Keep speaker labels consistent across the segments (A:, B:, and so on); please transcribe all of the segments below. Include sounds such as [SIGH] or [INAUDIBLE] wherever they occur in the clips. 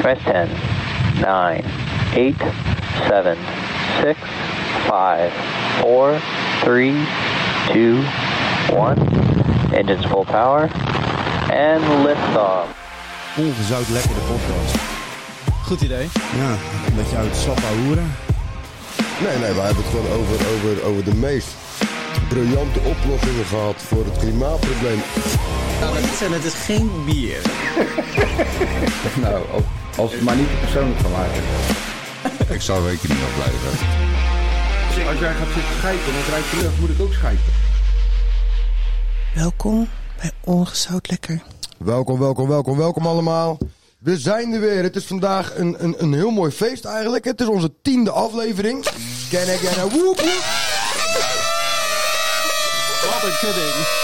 A: Press 10, 9, 8, 7, 6, 5, 4, 3, 2, 1. Engines full power. And liftoff.
B: ongezout lekkere podcast.
C: Goed idee.
B: Ja, een beetje uit slappa hoeren.
D: Nee, nee, we hebben het gewoon over, over, over de meest briljante oplossingen gehad voor het klimaatprobleem.
C: En het is geen bier.
E: Nou, als- als het maar niet persoonlijk van maken.
F: Ik zou rekening mee blijven.
E: Als jij gaat zitten schijpen en het ruikt de lucht, moet ik ook schijpen.
G: Welkom bij Ongezout Lekker.
D: Welkom, welkom, welkom, welkom allemaal. We zijn er weer. Het is vandaag een, een, een heel mooi feest eigenlijk. Het is onze tiende aflevering. Ken ik en woep woep.
C: Wat een kudding.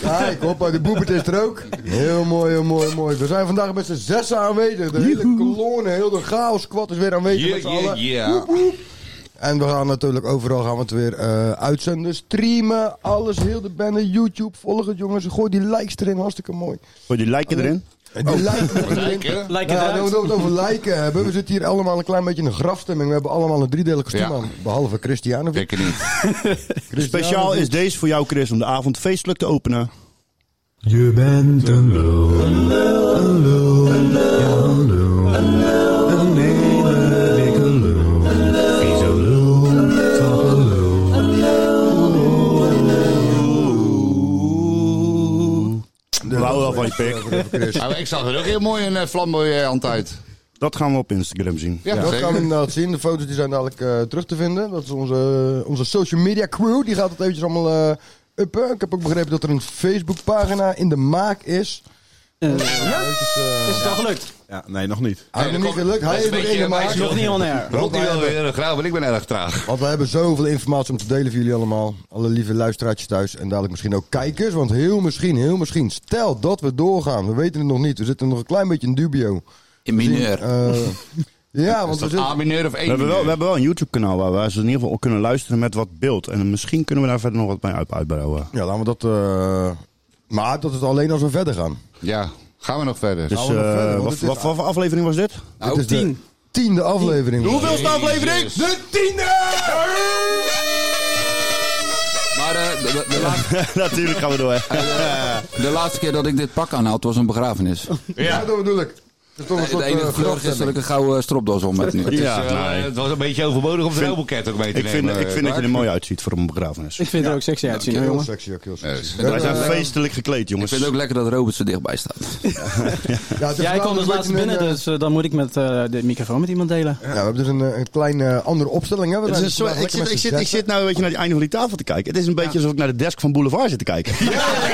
D: Kijk, hoppa, de boebert is er ook. Heel mooi, heel mooi, mooi. We zijn vandaag met z'n zessen aanwezig. De hele kolonne, heel de chaos kwad is weer aanwezig met z'n allen.
F: yeah.
D: En we gaan natuurlijk overal gaan we het weer eh, uitzenden, streamen, alles, heel de bende, YouTube, volg het jongens. Gooi die likes erin, hartstikke mooi.
B: Voor die lijken erin.
D: En
F: Oh.
D: die
F: [LAUGHS]
D: liken erin.
C: Lijkt
D: Nou,
C: het
D: dan
C: eruit.
D: moeten we het over liken hebben. We zitten hier allemaal een klein beetje in een grafstemming. We hebben allemaal een driedelige kostuum
F: Ja.
D: aan, behalve Christianovic.
F: Zeker niet.
B: Speciaal is deze voor jou, Chris, om de avond feestelijk te openen.
H: Je bent een lul, een lul, een lul, een lul, een lul, een lul, een hele dikke lul, vieze lul, taffe lul.
B: We houden wel van je pik.
F: Maar ik zag er ook heel mooi een eh, flamboyant uit.
B: Dat gaan we op Instagram zien.
F: Ja,
D: dat
F: zeker.
D: gaan we inderdaad zien. De foto's die zijn dadelijk eh, terug te vinden. Dat is onze, eh, onze social media crew. Die gaat het eventjes allemaal eh, uppen. Ik heb ook begrepen dat er een Facebookpagina in de maak is. Eventjes, eh,
C: Is het al gelukt?
E: Ja, nee, nog niet.
D: Hij heeft
F: Nee,
D: nog niet
F: dat
D: gelukt.
F: komt-
D: Hij
F: dat
D: is nog in
F: is een
D: de
F: beetje-
D: maak.
F: hij is
C: Nog niet on air.
F: Rot die wel weer graag, want ik ben erg traag.
D: Want we hebben zoveel informatie om te delen voor jullie allemaal. Alle lieve luisteraartjes thuis en dadelijk misschien ook kijkers. Want heel misschien, heel misschien, stel dat we doorgaan. We weten het nog niet. We zitten nog een klein beetje in dubio.
F: In mineur.
D: Eh, ja, want
F: Is
D: we
F: dat
D: zitten...
F: A-mineur of één
B: We hebben, wel, we
F: mineur?
B: hebben wel een YouTube-kanaal waar we ze in ieder geval kunnen luisteren met wat beeld. En misschien kunnen we daar verder nog wat mee uit- uitbouwen.
D: Ja, laten we dat... eh, Maar dat is alleen als we verder gaan.
F: Ja, gaan we nog verder.
B: Dus
D: we nog verder,
B: eh,
D: want
B: wat,
D: het is-
B: wat, wat voor aflevering was dit?
D: Dit is de tiende aflevering.
F: Hoeveelste aflevering? De tiende! Maar eh,
B: [LAUGHS]
F: de, de- de
B: [LAUGHS]
F: laatste, eh,
B: Natuurlijk gaan we [LAUGHS] door. hè.
I: De laatste keer dat ik dit pak aanhaald was een begrafenis.
D: Ja, dat bedoel ik. Dat is toch een
I: De
D: soort
I: enige
D: eh,
I: kleur is dat ik
D: grafstemming.
I: een gouden stropdas om heb [LAUGHS] nu.
B: Ja, nou,
F: eh,
B: nee.
F: Het was een beetje overbodig om de robelket ook mee te
B: Ik vind,
F: nemen.
B: ik vind dat je er mooi uitziet voor een begrafenis.
C: Ik vind het er ook sexy uitzien, hoor,
D: Heel
C: jongen.
D: sexy ook, heel sexy.
F: Nee,
B: Wij zijn
D: Eh,
B: feestelijk gekleed,
I: Ik
B: jongens.
I: vind het ook lekker dat Robert zo dichtbij staat.
D: ja, het is
C: Jij
D: vandaag
C: komt
D: een
C: als
D: beetje
C: laatste
D: een,
C: binnen,
D: eh,
C: dus eh, dan moet ik met eh, de microfoon met iemand delen.
D: Ja, we hebben dus een, eh, een klein eh, andere opstelling. Hè? We
B: Het is
D: zijn
B: een soort-
D: vandaag
B: ik, zit,
D: lekker
B: ik,
D: met z'n
B: zit, ik
D: zessen.
B: zit nou een beetje naar het einde van die tafel te kijken. Het is een beetje alsof ik naar de desk van Boulevard zit te kijken.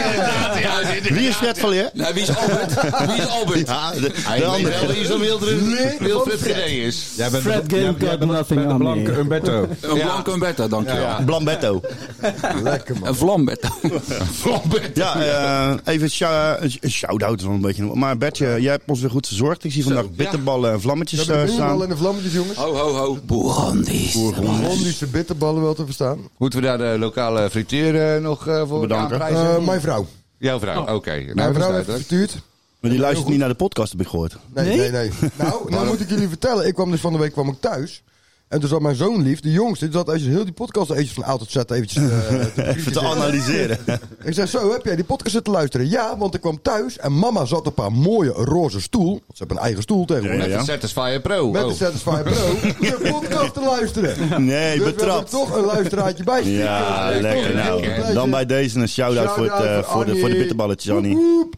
F: [LAUGHS]
B: Wie is Fred van Leer?
I: Nou, wie is Albert? Wie is Albert?
B: Ja, de, de
F: Hij weet
B: andere.
F: wel wie zo'n Wildred- Wildred Gedee is.
E: Jij bent
C: Fred Game got nothing on
E: blanke
C: me.
E: Umberto.
I: Een blanco en Bertha, dankjewel.
B: Blambetto.
D: Lekker man.
I: Een [LAUGHS] vlambetta.
F: Flambert.
B: Ja, eh, even shou- een shout-out van een beetje. Maar Bertje, jij hebt ons weer goed verzorgd. Ik zie vandaag bitterballen en vlammetjes
D: We hebben
B: eh,
D: de
B: staan.
D: bitterballen en de vlammetjes, jongens.
I: Ho, ho, ho. Bourgondisch.
D: Hollandische bitterballen wel te verstaan.
F: Moeten we daar de lokale frituur eh, nog eh, voor
B: Bedanken.
F: aanprijzen?
D: Eh, mijn vrouw.
F: Jouw vrouw, oké. Nou,
D: Mijn
F: dat is
D: vrouw heeft
F: duidelijk.
D: gestuurd.
B: Maar die luistert niet naar de podcast, heb ik gehoord.
D: Nee, nee, nee.
B: [LAUGHS]
D: Nou, nou moet ik jullie vertellen. Ik kwam dus van de week kwam ik thuis. En toen zat mijn zoon lief, de jongste, die zat als je heel die podcast eventjes van A tot Z eventjes
B: [LAUGHS]
D: eh, te
B: Even te
D: bekritiseren.
B: analyseren. [LAUGHS]
D: Ik zeg, zo, heb jij die podcast zitten luisteren? Ja, want ik kwam thuis en mama zat op haar mooie roze stoel. Want ze hebben een eigen stoel tegenwoordig.
B: Ja, ja.
F: Met de Satisfyer Pro.
D: Met
F: Oh.
D: de Satisfy Pro
B: [LAUGHS]
D: de podcast te luisteren.
B: Nee,
D: dus we hebben
B: betrapt.
D: toch een luisteraartje bij.
B: Ja,
D: Toch
B: lekker
D: een
B: nou.
D: plezier.
B: Dan bij deze een shout-out voor, het, eh,
D: Shout-out
B: voor, de, voor de
D: Annie.
B: bitterballetjes, Annie.
D: Woep, woep.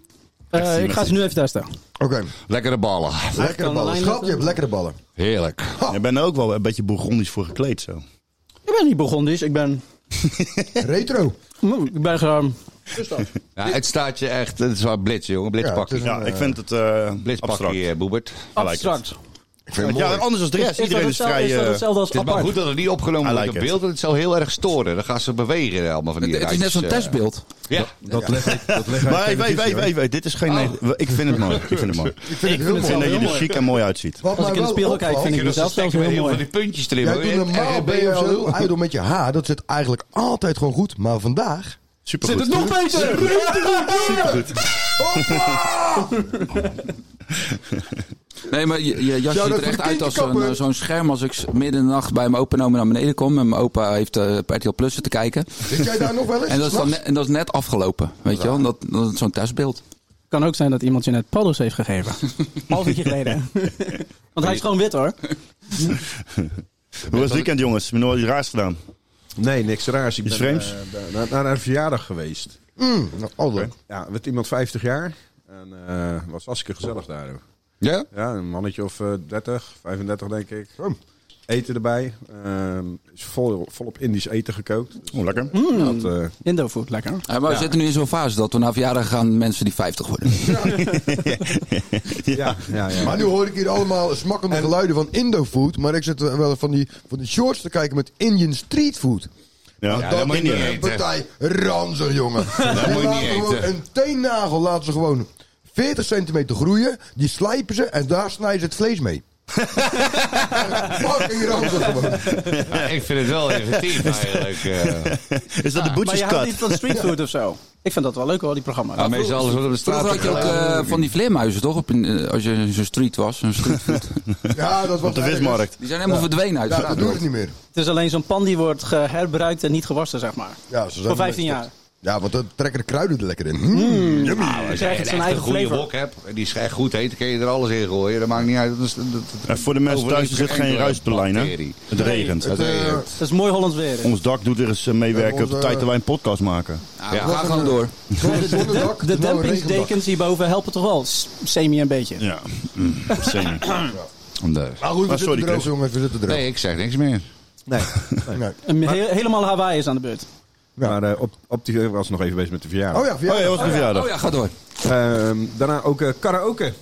C: Eh, ik ga ze nu even testen.
D: Oké,
F: Lekkere ballen.
D: lekkere
C: kan
D: ballen.
C: lijn
D: Schat, je
C: zetten.
D: hebt lekkere ballen.
F: Heerlijk.
B: Je bent er ook wel een beetje bourgondisch voor gekleed zo.
C: Ik ben niet Burgondisch, ik ben...
D: Retro.
C: Ik ben gewoon...
F: Ja, het staat je echt, het is wel blitz, jongen. Blitzpakje.
D: Ja,
F: Ja,
D: het is
B: Ja,
D: een,
B: ik vind het eh abstract.
F: Blitzpakje, eh, Boebert.
B: I like it.
C: Abstract.
D: Ik vind het
B: Ja,
D: mooi.
B: anders dan de rest.
C: Is dat
B: Iedereen is
C: hetzelfde-
B: vrij...
C: Is dat
B: eh,
C: hetzelfde als
F: Het is maar
C: apart?
F: goed dat het niet
B: I
F: opgenomen wordt
B: like
F: in
B: it.
F: beeld. want Het zou heel erg storen. Dan gaan ze bewegen eh, allemaal van die
I: Het is net
F: rijtjes,
I: zo'n
F: eh.
I: testbeeld.
F: Ja.
E: Dat leg ik, dat leg ik
B: Maar
E: uit
B: even, even,
E: televisie,
B: even, even. Dit is geen... neg- Ik vind het mooi. Ik vind het mooi.
D: Oh. Ik vind het
C: Ik vind
D: heel
B: Ik
D: mooi.
C: het
B: vind
C: wel
B: dat je
C: heel
B: er
C: mooi.
B: chic en mooi uitziet.
D: Wat
C: Als ik
D: mij
C: in de
D: wel
C: spiegel kijk,
D: opvalt-
C: vind ik
F: Dus dan
C: mezelf zelfs
F: stekken we
C: heel
F: heel van
C: mooi.
F: die puntjes erin.
D: Jij
F: hoor.
D: doet
F: En-
D: normaal
F: en-
D: ben je
F: en-
D: wel heel ijdel met je haar. Dat zit eigenlijk altijd gewoon goed. Maar vandaag...
B: Supergoed.
C: Zit het nog beter?
D: Hoppa!
I: Nee, maar je, je
D: Zou
I: jas ziet
D: dat
I: er
D: voor
I: echt
D: de
I: uit als zo'n
D: kindje
I: eh, zo'n scherm. Als ik s- midden in de nacht bij mijn opa en oma naar beneden kom. En mijn opa heeft eh op RTL Plus te kijken.
D: Zit jij daar nog wel eens?
I: En dat is, dan
D: S'nachts?
I: net, en dat is net afgelopen. Weet je wel? En Dat, dat is zo'n thuisbeeld.
C: Kan ook zijn dat iemand je net paddo's heeft gegeven. [LAUGHS] Half uurtje geleden. Want hij is gewoon wit hoor.
B: Hoe was het weekend, jongens? Heb je nog wat raars gedaan?
E: Nee, niks raars. Ik
B: Iets
E: ben
B: vreemds?
E: eh, bij- naar, naar een verjaardag geweest.
D: Mm, nou, al dan.
E: Ja, met iemand 50 jaar. En eh was hartstikke gezellig daar. hoor.
F: Ja?
E: Ja, een mannetje of eh 30, 35 denk ik. Hm.
D: Zo.
E: Eten erbij. Ehm, is vol, volop Indisch eten gekookt. Dus
B: Oh, lekker. [LAUGHS]
E: dat, eh,
C: Indofood, lekker.
I: Eh, maar we zitten nu in zo'n fase dat we na verjaardag gaan mensen die 50 worden.
D: [LAUGHS]
E: ja, ja, ja.
D: Maar nu hoor ik hier allemaal smakkende geluiden van Indofood. Maar ik zit wel van die, van die shorts te kijken met Indian Street Food.
B: Ja,
D: Want
B: dat
D: dat
B: moet je
D: is
B: niet
D: een
B: eten.
D: partij ranzig,
B: [LAUGHS]
D: jongen. dat
F: moet je niet eten.
D: Een teennagel laten ze gewoon 40 centimeter groeien. Die slijpen ze en daar snijden ze het vlees
B: [LAUGHS]
D: mee. Fucking ranzig gewoon.
F: Ja, ik vind het
C: [LAUGHS]
F: wel inventief eigenlijk. eh.
B: Is dat de
C: Maar je
B: butcher's
C: houdt
B: cut? Ah.
C: niet van streetfood of
B: [LAUGHS]
C: zo? Ik vind dat wel leuk hoor, die programma's.
F: Maar meestal alles wat op de straat
I: Vroeger had je ook
F: gegooid.
I: eh, van die vleermuizen, toch? Op een, eh, als je in zo'n street was. Zo'n
D: [LAUGHS]
I: streetfood.
D: Ja, dat was
B: Op de vismarkt.
I: Die zijn helemaal verdwenen uit de
D: Ja, dat doe ik
I: straat.
D: niet meer.
C: Het is alleen zo'n pan die wordt hergebruikt en niet gewassen, zeg maar.
D: Ja, ze zijn
C: Voor 15
D: gestopt.
C: jaar.
D: Ja, want dan trekken de kruiden er lekker in. Hmm.
C: Dan
F: Nou, Als je
C: krijg je
F: echt
C: zijn
F: een
C: eigen
F: goede
C: flavor.
F: wok hebt, en die is echt goed heet, dan kun je er alles in gooien. Dat maakt niet uit. Dat is, dat,
B: Eh, voor de mensen thuis, er zit geen ruis op de lijn, hè? Het regent. Eh,
F: Dat regent.
C: Dat is mooi Hollands weer.
B: Ons dak doet weer eens eh, meewerken op de
D: Onze-
B: tijd dat wij een podcast maken.
I: Ja, ga gewoon door.
D: Gewoon het zonnedak,
C: De,
D: het is wel een regendak.
C: dempingsdekens hierboven helpen toch wel? S- Semi een beetje.
B: Ja, mm, zeker.
F: Omdat-
D: Maar Ah, goed, we
B: Maar Ah,
D: zitten
B: sorry,
D: droog,
B: Chris.
D: jongens. We zitten droog.
F: Nee, ik zeg niks meer.
D: Nee.
C: Een he- helemaal Hawaii is aan de beurt. Oh,
E: Maar eh, op, op die ik was nog even bezig met de verjaardag.
D: Oh ja,
B: Oh ja,
D: verjaardag.
B: was mijn verjaardag.
I: Oh ja, ga door.
E: Ehm, daarna ook eh, karaoke.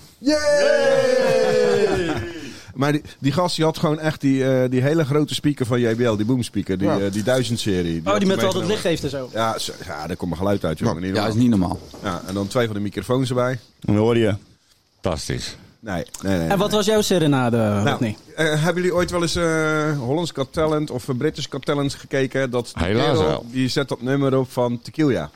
E: [LAUGHS] Maar die, die gast die had gewoon echt die, eh, die hele grote speaker van JBL, die boomspeaker, die,
D: Ja.
E: eh, die 1000 serie.
C: Oh, die met al dat
E: het
C: licht heeft en zo.
E: Ja, zo- ja, daar komt mijn geluid uit, jongen. Niet
I: Ja, is
E: normaal.
I: niet normaal.
E: Ja, en dan twee van de microfoons erbij.
B: Dan hoor je.
F: Fantastisch.
E: Nee, nee, nee.
C: En wat was jouw serenade,
E: nou,
C: Rodney?
E: eh, hebben jullie ooit wel eens eh Hollands Got Talent of eh, British Got Talent gekeken? Dat die
F: Helaas
E: kerel,
F: wel.
E: Die zet dat nummer op van Tequila.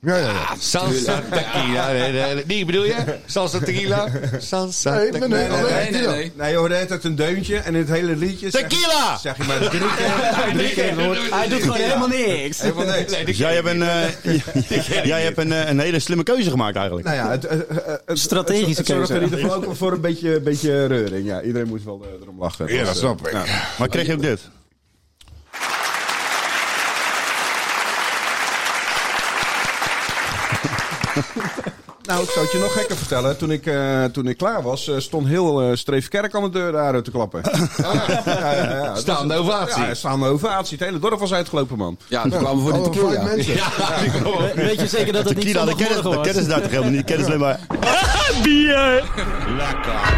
D: Ja, ja, ja.
F: Salsa tequila. Nee, nee, nee. Die bedoel je? Salsa tequila? Salsa
D: Nee, nee, nee,
F: tequila.
D: nee, nee.
E: Nee, je hoorde het een deuntje en in het hele liedje zeg,
F: Tequila!
E: zeg je maar drie keer. drie keer het woord.
C: Hij doet gewoon helemaal niks.
E: Helemaal niks.
F: Nee, die-
B: Dus jij hebt een, eh, jij hebt een, eh, een hele slimme keuze gemaakt eigenlijk.
E: Nou ja, het, eh, eh, eh, het-
C: Strategische
E: het zorgt
C: keuze.
E: in ieder geval ook voor een beetje, beetje reuring. Ja, iedereen moest wel eh, erom lachen.
F: Ja, dat
E: eh,
F: snap ik.
E: nou,
B: Maar kreeg je ook dit?
E: Nou, ik zou het je nog gekker vertellen. Toen ik, eh, toen ik klaar was, eh, stond heel eh, Streefkerk aan de deur daaruit te klappen. Ja, ja, ja, ja.
F: Staande ovatie.
E: Ja, staande ovatie. Het hele dorp was uitgelopen, man.
I: Ja, die kwamen voor de
D: Alle Oh, vijf
I: tequila.
D: mensen.
C: We- Weet je zeker dat het niet
B: Tequila, dat kennen dat kennen
C: zondagmorgen was?
B: ze daar toch helemaal niet. Die Kennen ze alleen maar.
F: Lekker.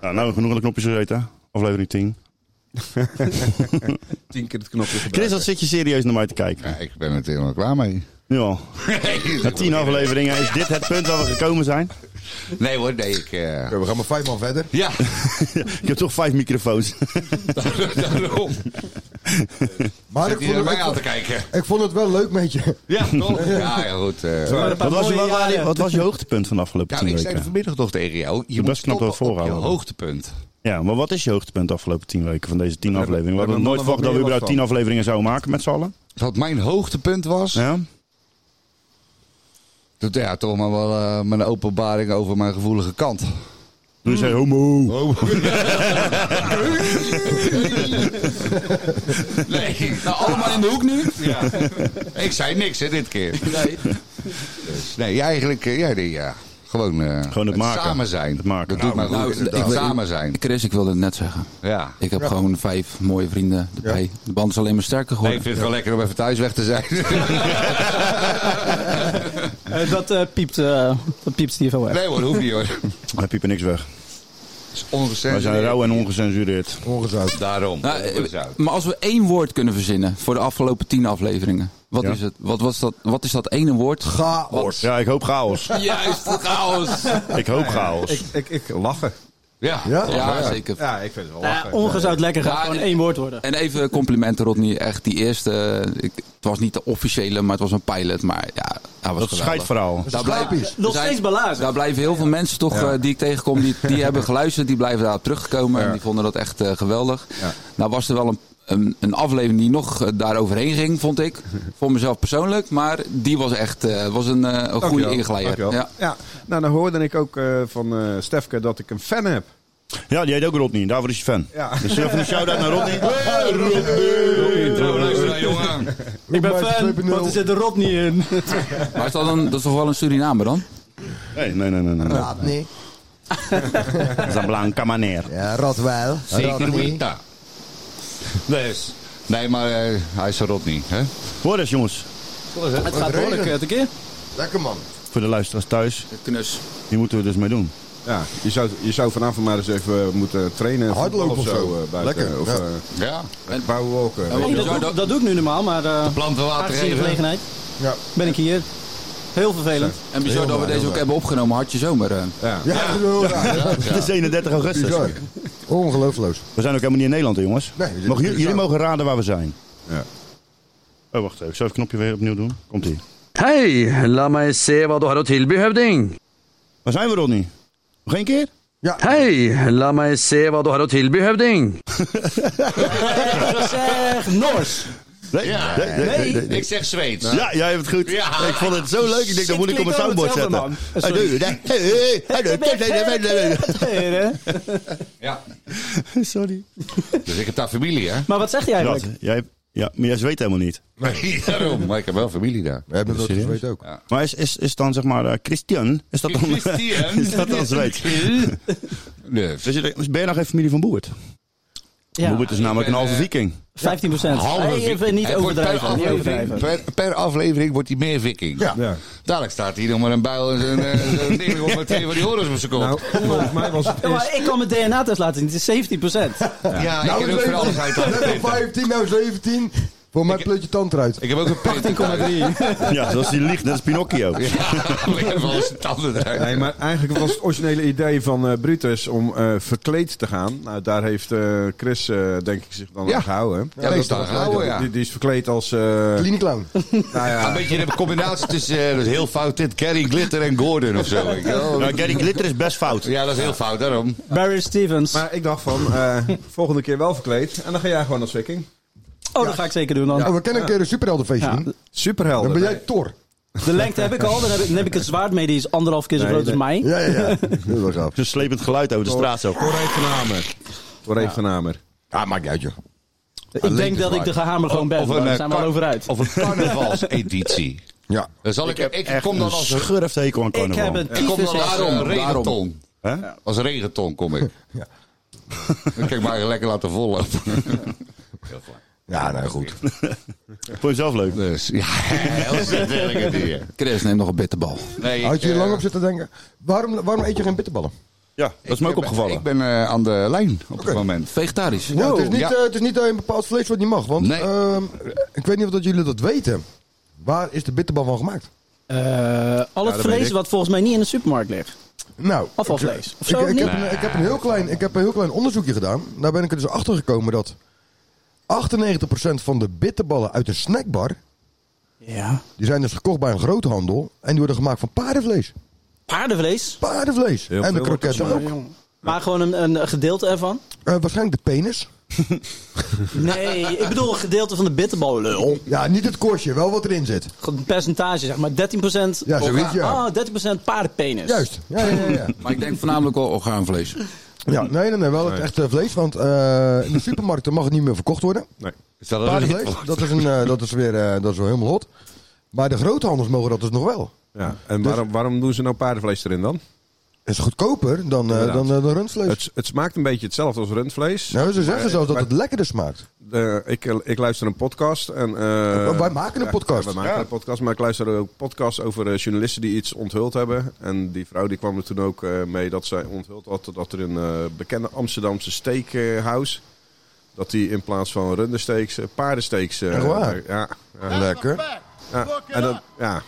B: Nou, nou genoeg aan de knopjes gezeten. Aflevering 10.
E: Tien keer het knopje
B: Chris,
E: gebruikt.
B: wat zit je serieus naar mij te kijken?
F: Ja, ik ben het helemaal klaar mee. [LAUGHS]
B: Nu al. Na 10 afleveringen is dit het punt waar we gekomen zijn. [LAUGHS]
F: Nee hoor, nee, ik... eh,
D: Oké, we gaan maar vijf man verder.
F: Ja, [LAUGHS]
B: Ik heb toch vijf microfoons.
F: daarom.
D: Maar
F: Zit
D: ik
F: hier
D: vond,
F: naar mij
D: het, ik,
F: aan te
D: vond,
F: kijken.
D: ik vond het wel leuk met je.
F: Ja, toch? Ja, ja, goed. eh.
C: Maar een paar
B: Wat was,
C: mooie
B: wat, waren-
C: jaren.
B: wat was je hoogtepunt van de afgelopen
F: Ja,
B: 10
F: ik zei het
B: weken?
F: vanmiddag nog tegen jou. Je moet
B: best knap
F: stoppen
B: dat
F: op je
B: voorhouden.
F: hoogtepunt.
B: Ja, maar wat is je hoogtepunt de afgelopen 10 weken van deze 10 afleveringen? We
E: hebben
B: hadden nooit
E: mannen
B: verwacht dat we
E: wat meer
B: überhaupt 10
E: last
B: afleveringen zouden maken met z'n allen.
F: Wat mijn hoogtepunt was...
B: Ja?
F: dat- ja, toch maar wel eh, mijn openbaring over mijn gevoelige kant. [LAUGHS]
B: Toen zei homo.
F: Nee, nou, allemaal in de hoek nu. Ja. Ik zei niks hè, dit keer. Nee, dus, nee eigenlijk, eh, ja, nee, ja. Gewoon, eh,
B: Gewoon het maken.
F: samen zijn.
B: Het maken.
F: Dat doet mij
I: Nou,
F: goed.
I: ik-
F: het
I: ik-
F: samen zijn.
I: Chris, ik wilde het net zeggen.
F: Ja.
I: Ik heb gewoon vijf mooie vrienden erbij. De band is alleen maar sterker
F: Nee,
I: geworden.
F: ik vind het wel lekker om even thuis weg te zijn.
C: Eh, Dat eh, piept, eh, dat piept Steve wel weg.
F: nee hoor, hoeft niet hoor. Het
B: Wij piepen niks weg.
F: is
B: Wij
F: ongecensureerd.
B: zijn rauw en ongecensureerd.
D: Ongezout.
F: Daarom.
I: Nou, eh,
F: Ongezout.
I: maar als we één woord kunnen verzinnen voor de afgelopen tien afleveringen. Wat,
B: Ja.
I: is, het? Wat, was dat, wat is dat ene woord?
D: Chaos.
B: Ja, ik hoop chaos.
I: Juist, chaos.
B: Ik hoop chaos.
E: Ik, ik, ik lachen.
I: Ja,
D: Ja?
I: ja, zeker.
E: Ja, ik vind het wel
C: Nou ja,
E: lachen.
C: ongezout lekker gaat
I: Ja,
C: gewoon
I: en-
C: één woord worden.
I: En even complimenten, Rodney. Echt, die eerste. Ik, het was niet de officiële, maar het was een pilot. Maar ja, hij was
B: Dat
I: geweldig.
B: scheidverhaal.
I: Daar blijven,
D: Grappig.
C: Nog
I: er zijn-
C: steeds belazen.
I: daar blijven heel veel mensen toch, eh, die ik tegenkom, die, [LAUGHS] die hebben geluisterd. Die blijven daar teruggekomen en
E: Ja.
I: die vonden dat echt eh, geweldig.
E: Ja.
I: Nou was er wel een, een, een aflevering die nog eh, daar overheen ging, vond [LAUGHS] ik. Voor mezelf persoonlijk. Maar die was echt eh, was een, eh, een goede
E: Dankjewel,
I: inglijder.
E: dankjewel.
I: Ja.
E: Ja. nou dan hoorde ik ook eh, van eh, Stefke dat ik een fan heb.
B: Ja, die heet ook Rodney. Daarvoor is je fan.
E: Ja.
B: Dus even een shout-out naar Rodney.
F: jongen.
C: Ik ben
D: Opmaatje
C: fan,
D: 2.0.
C: want er zit de rot niet in.
I: Maar is dat, een, dat is toch wel een Suriname dan?
B: Nee, nee, nee, nee. nee. [LAUGHS]
D: Raad niet.
B: Dat is een blanca manier.
D: Ja, Rotweil.
F: Zeker
D: niet.
F: niet. Ja. Dus. Nee, maar eh, hij is een rot niet. Hè?
B: Hoor eens, jongens.
C: Het gaat behoorlijk
D: regent.
C: eh, tekeer.
D: Lekker man.
B: Voor de luisteraars thuis.
I: Knus.
B: Hier moeten we dus mee doen.
E: Ja, je zou, je zou vanavond maar eens even eh, moeten trainen.
D: Hardlopen
E: voetbal
D: of zo.
E: eh, buiten.
D: Lekker,
E: Of
D: ja.
E: eh,
F: Ja.
E: bouwen
I: En
E: walken.
I: wat
C: Nee, dat,
I: bizar
C: doe,
I: Oh, dat- Ah,
C: dat doe ik nu normaal, maar eh
F: Planten water
C: aangezien de
F: even.
C: gelegenheid
D: Ja.
C: ben ik hier. Heel vervelend.
I: En bizar dat we deze ook hebben opgenomen. Hartje zomer. eh.
E: Ja.
D: Ja, heel raar.
B: Het is 31 augustus.
D: Bizar. Ongelooflijk.
B: We zijn ook helemaal niet in Nederland, hè, jongens.
D: Nee, we zitten
B: mogen,
D: in
B: jullie, jullie
D: Curaçao.
B: mogen raden waar we zijn.
E: Ja.
B: Oh, wacht even. Ik zal het knopje weer opnieuw doen. Komt-ie.
J: Hei, la meg se hva du har å tilby, høvding.
B: Waar zijn we, Rodney? Nog één keer?
J: Hei, la meg se hva du har å tilby, høvding.
C: Zeg, Nors.
B: Nee.
F: Ja.
B: nee, nee, nee, nee.
F: Ik zeg Zweeds.
B: Ja, jij hebt het goed.
F: Ja.
B: Ik vond het zo leuk. Ik denk, dat moet ik op mijn
C: Klinkt allemaal
B: soundboard zetten. Hey,
C: hetzelfde, man.
B: doe, nee, hey, hey, hey, doe, nee, Eh, nee, nee, nee,
F: Ja.
B: nee. Sorry.
F: Dus ik heb daar familie, hè?
C: Maar wat zeg jij
B: Dat,
C: eigenlijk?
B: jij, ja, maar jij weet helemaal niet.
F: Nee, [LAUGHS] daarom. Maar ik heb wel familie daar.
D: We hebben dat
B: serieus?
D: weet ook.
B: Maar is, is, is dan zeg maar eh, Christian? Is dat dan,
F: Christian.
B: [LAUGHS] is dat dan Zweeds?
F: Dus.
B: Dus je denkt, ben je nog geen familie van Boert?
C: Ja,
B: Boert is namelijk
F: ik
B: een
F: ben,
B: halve
F: eh,
B: viking.
C: 15 procent.
F: Halve
C: Even
F: Viking.
C: niet
F: Hij wordt
C: overdrijven.
F: Per
C: niet
F: aflevering,
C: overdrijven.
F: per, per aflevering wordt hij meer viking.
D: Ja.
E: Ja.
F: Dadelijk staat hij nog maar een buil en zo'n eh, zo'n ding op met twee van die horens op zijn kop.
E: Nou, volgens mij was het
C: Ja,
E: eerst...
C: maar ik kan mijn DNA-test laten zien. Het is 17 procent.
F: ja, ik
D: Nou,
F: ken ook van alles uit. dat
D: net
F: punt.
D: op 15, nou 17. Voor mij pleut je tand eruit.
F: Ik heb ook een punt.
B: Ja, zoals die liegt, net als Pinocchio.
F: [LAUGHS] Ja, ik heb wel eens de tanden eruit.
E: Nee, maar eigenlijk was het originele idee van eh, Brutus om eh, verkleed te gaan. Nou, daar heeft eh, Chris, eh, denk ik, zich dan
F: Ja.
E: aan gehouden.
F: Ja, dat is
E: dat
F: daar
E: was-
D: Oh,
F: gehouden, ja.
E: die, die is verkleed als... eh, nou
D: Klinieklauw.
E: ja,
F: Een beetje een combinatie tussen, eh, dat is heel fout dit, Gary Glitter en Gordon of zo. weet je wel.
B: Nou, Gary Glitter is best fout.
F: Ja, dat is heel fout, daarom.
C: Barry Stevens.
E: maar ik dacht van, eh, volgende keer wel verkleed. En dan ga jij gewoon als viking.
C: oh, dat ga ik zeker doen dan.
D: Oh, we kennen een keer een superheldenfeestje.
C: Ja.
D: doen.
E: Superhelden.
D: Dan ben jij
E: Nee.
D: Thor.
C: De lengte heb ik al. Dan heb ik, dan heb ik een zwaard mee. Die is anderhalf keer zo
E: Nee,
C: groot als
E: nee.
C: mij.
D: Ja, ja, ja. [LAUGHS] Dat is wel gaaf.
B: Zo'n slepend geluid over de straat zo.
E: Voor een genamer. Voor een genamer.
F: Ja, maakt niet uit, joh.
C: Ik denk dat ik de gehamer gewoon ben. maar
F: eh,
C: Daar zijn we al
F: car-
C: over uit.
F: Of een carnavalseditie.
D: Ja.
F: Dan zal ik, ik,
B: Echt
F: kom dan als,
B: een schurfthekel aan
C: Ik
B: carnaval.
C: heb een
F: ik kom dan als
C: tyfus.
F: eh,
I: Daarom, daarom.
F: regenton.
B: Hè?
F: Als regenton kom [LAUGHS] ik. Dan kan ik maar lekker laten vollopen. [LAUGHS]
D: Ja, nou goed.
B: Vond je het zelf leuk?
F: Dus [LAUGHS] ja, heel zit het hier.
I: Chris, neem nog een bitterbal.
F: Nee, ik,
D: Had je hier
F: eh,
D: lang op zitten denken, waarom, waarom eet je geen bitterballen?
B: Ja, dat is me ook
F: ik ben-
B: opgevallen.
F: Ik ben eh, aan de lijn op dit moment.
I: Vegetarisch.
D: Ja, het, is niet,
F: ja.
D: eh, het is niet dat je een bepaald vlees wat niet mag. Want
F: Nee.
D: ehm, ik weet niet of dat jullie dat weten. Waar is de bitterbal van gemaakt?
C: Eh, al het
E: dat weet
C: vlees
E: ik.
C: wat volgens mij niet in de supermarkt ligt.
D: Nou,
C: Afvalvlees. Of
D: ik,
C: zo?
D: ik,
C: niet?
D: heb een, ik, heb een heel klein, ik heb een heel klein onderzoekje gedaan. Daar ben ik er dus achter gekomen dat 98% van de bitterballen uit een snackbar.
C: Ja.
D: die zijn dus gekocht bij een groothandel. en die worden gemaakt van paardenvlees.
C: Paardenvlees.
D: Paardenvlees.
E: Heel
D: en de
E: veel wordt
D: kroketten ook.
C: Maar gewoon een, een gedeelte ervan?
D: Eh, waarschijnlijk de penis.
C: Nee, ik bedoel een gedeelte van de bitterbal. Lul.
D: Ja, niet het korstje, wel wat erin zit.
C: Een percentage zeg maar. 13%
D: Ja, zoiets, ja.
C: Ah, 13% paardenpenis.
D: Juist. Ja, ja, ja. ja.
I: Maar ik denk voornamelijk wel orgaanvlees.
D: ja nee, nee, nee, wel het echte vlees. Want eh, in de supermarkten mag het niet meer verkocht worden.
F: Is dat een
D: Paardenvlees, dat is, een, eh, dat is weer eh, dat is wel helemaal hot. Maar de groothandels mogen dat dus nog wel.
E: Ja. En
D: Dus-
E: waarom, waarom doen ze nou paardenvlees erin dan?
D: is goedkoper dan, eh,
E: Inderdaad.
D: dan, eh, dan rundvlees.
E: Het, het smaakt een beetje hetzelfde als rundvlees.
D: nou, ze
E: Maar-
D: zeggen zelfs dat
E: maar
D: het lekkerder smaakt.
E: de- ik, ik luister een podcast. En, eh,
D: Oh, wij maken een
E: ja,
D: podcast.
E: wij maken een podcast, maar ik luister ook podcasts over eh, journalisten die iets onthuld hebben. En die vrouw die kwam er toen ook eh, mee dat zij onthuld had dat er een eh, bekende Amsterdamse steakhouse... dat die in plaats van rundersteaks, eh, paardensteaks... eh,
D: Echt waar?
E: eh, ja, ja,
D: Lekker.
E: ja. En dat, ja.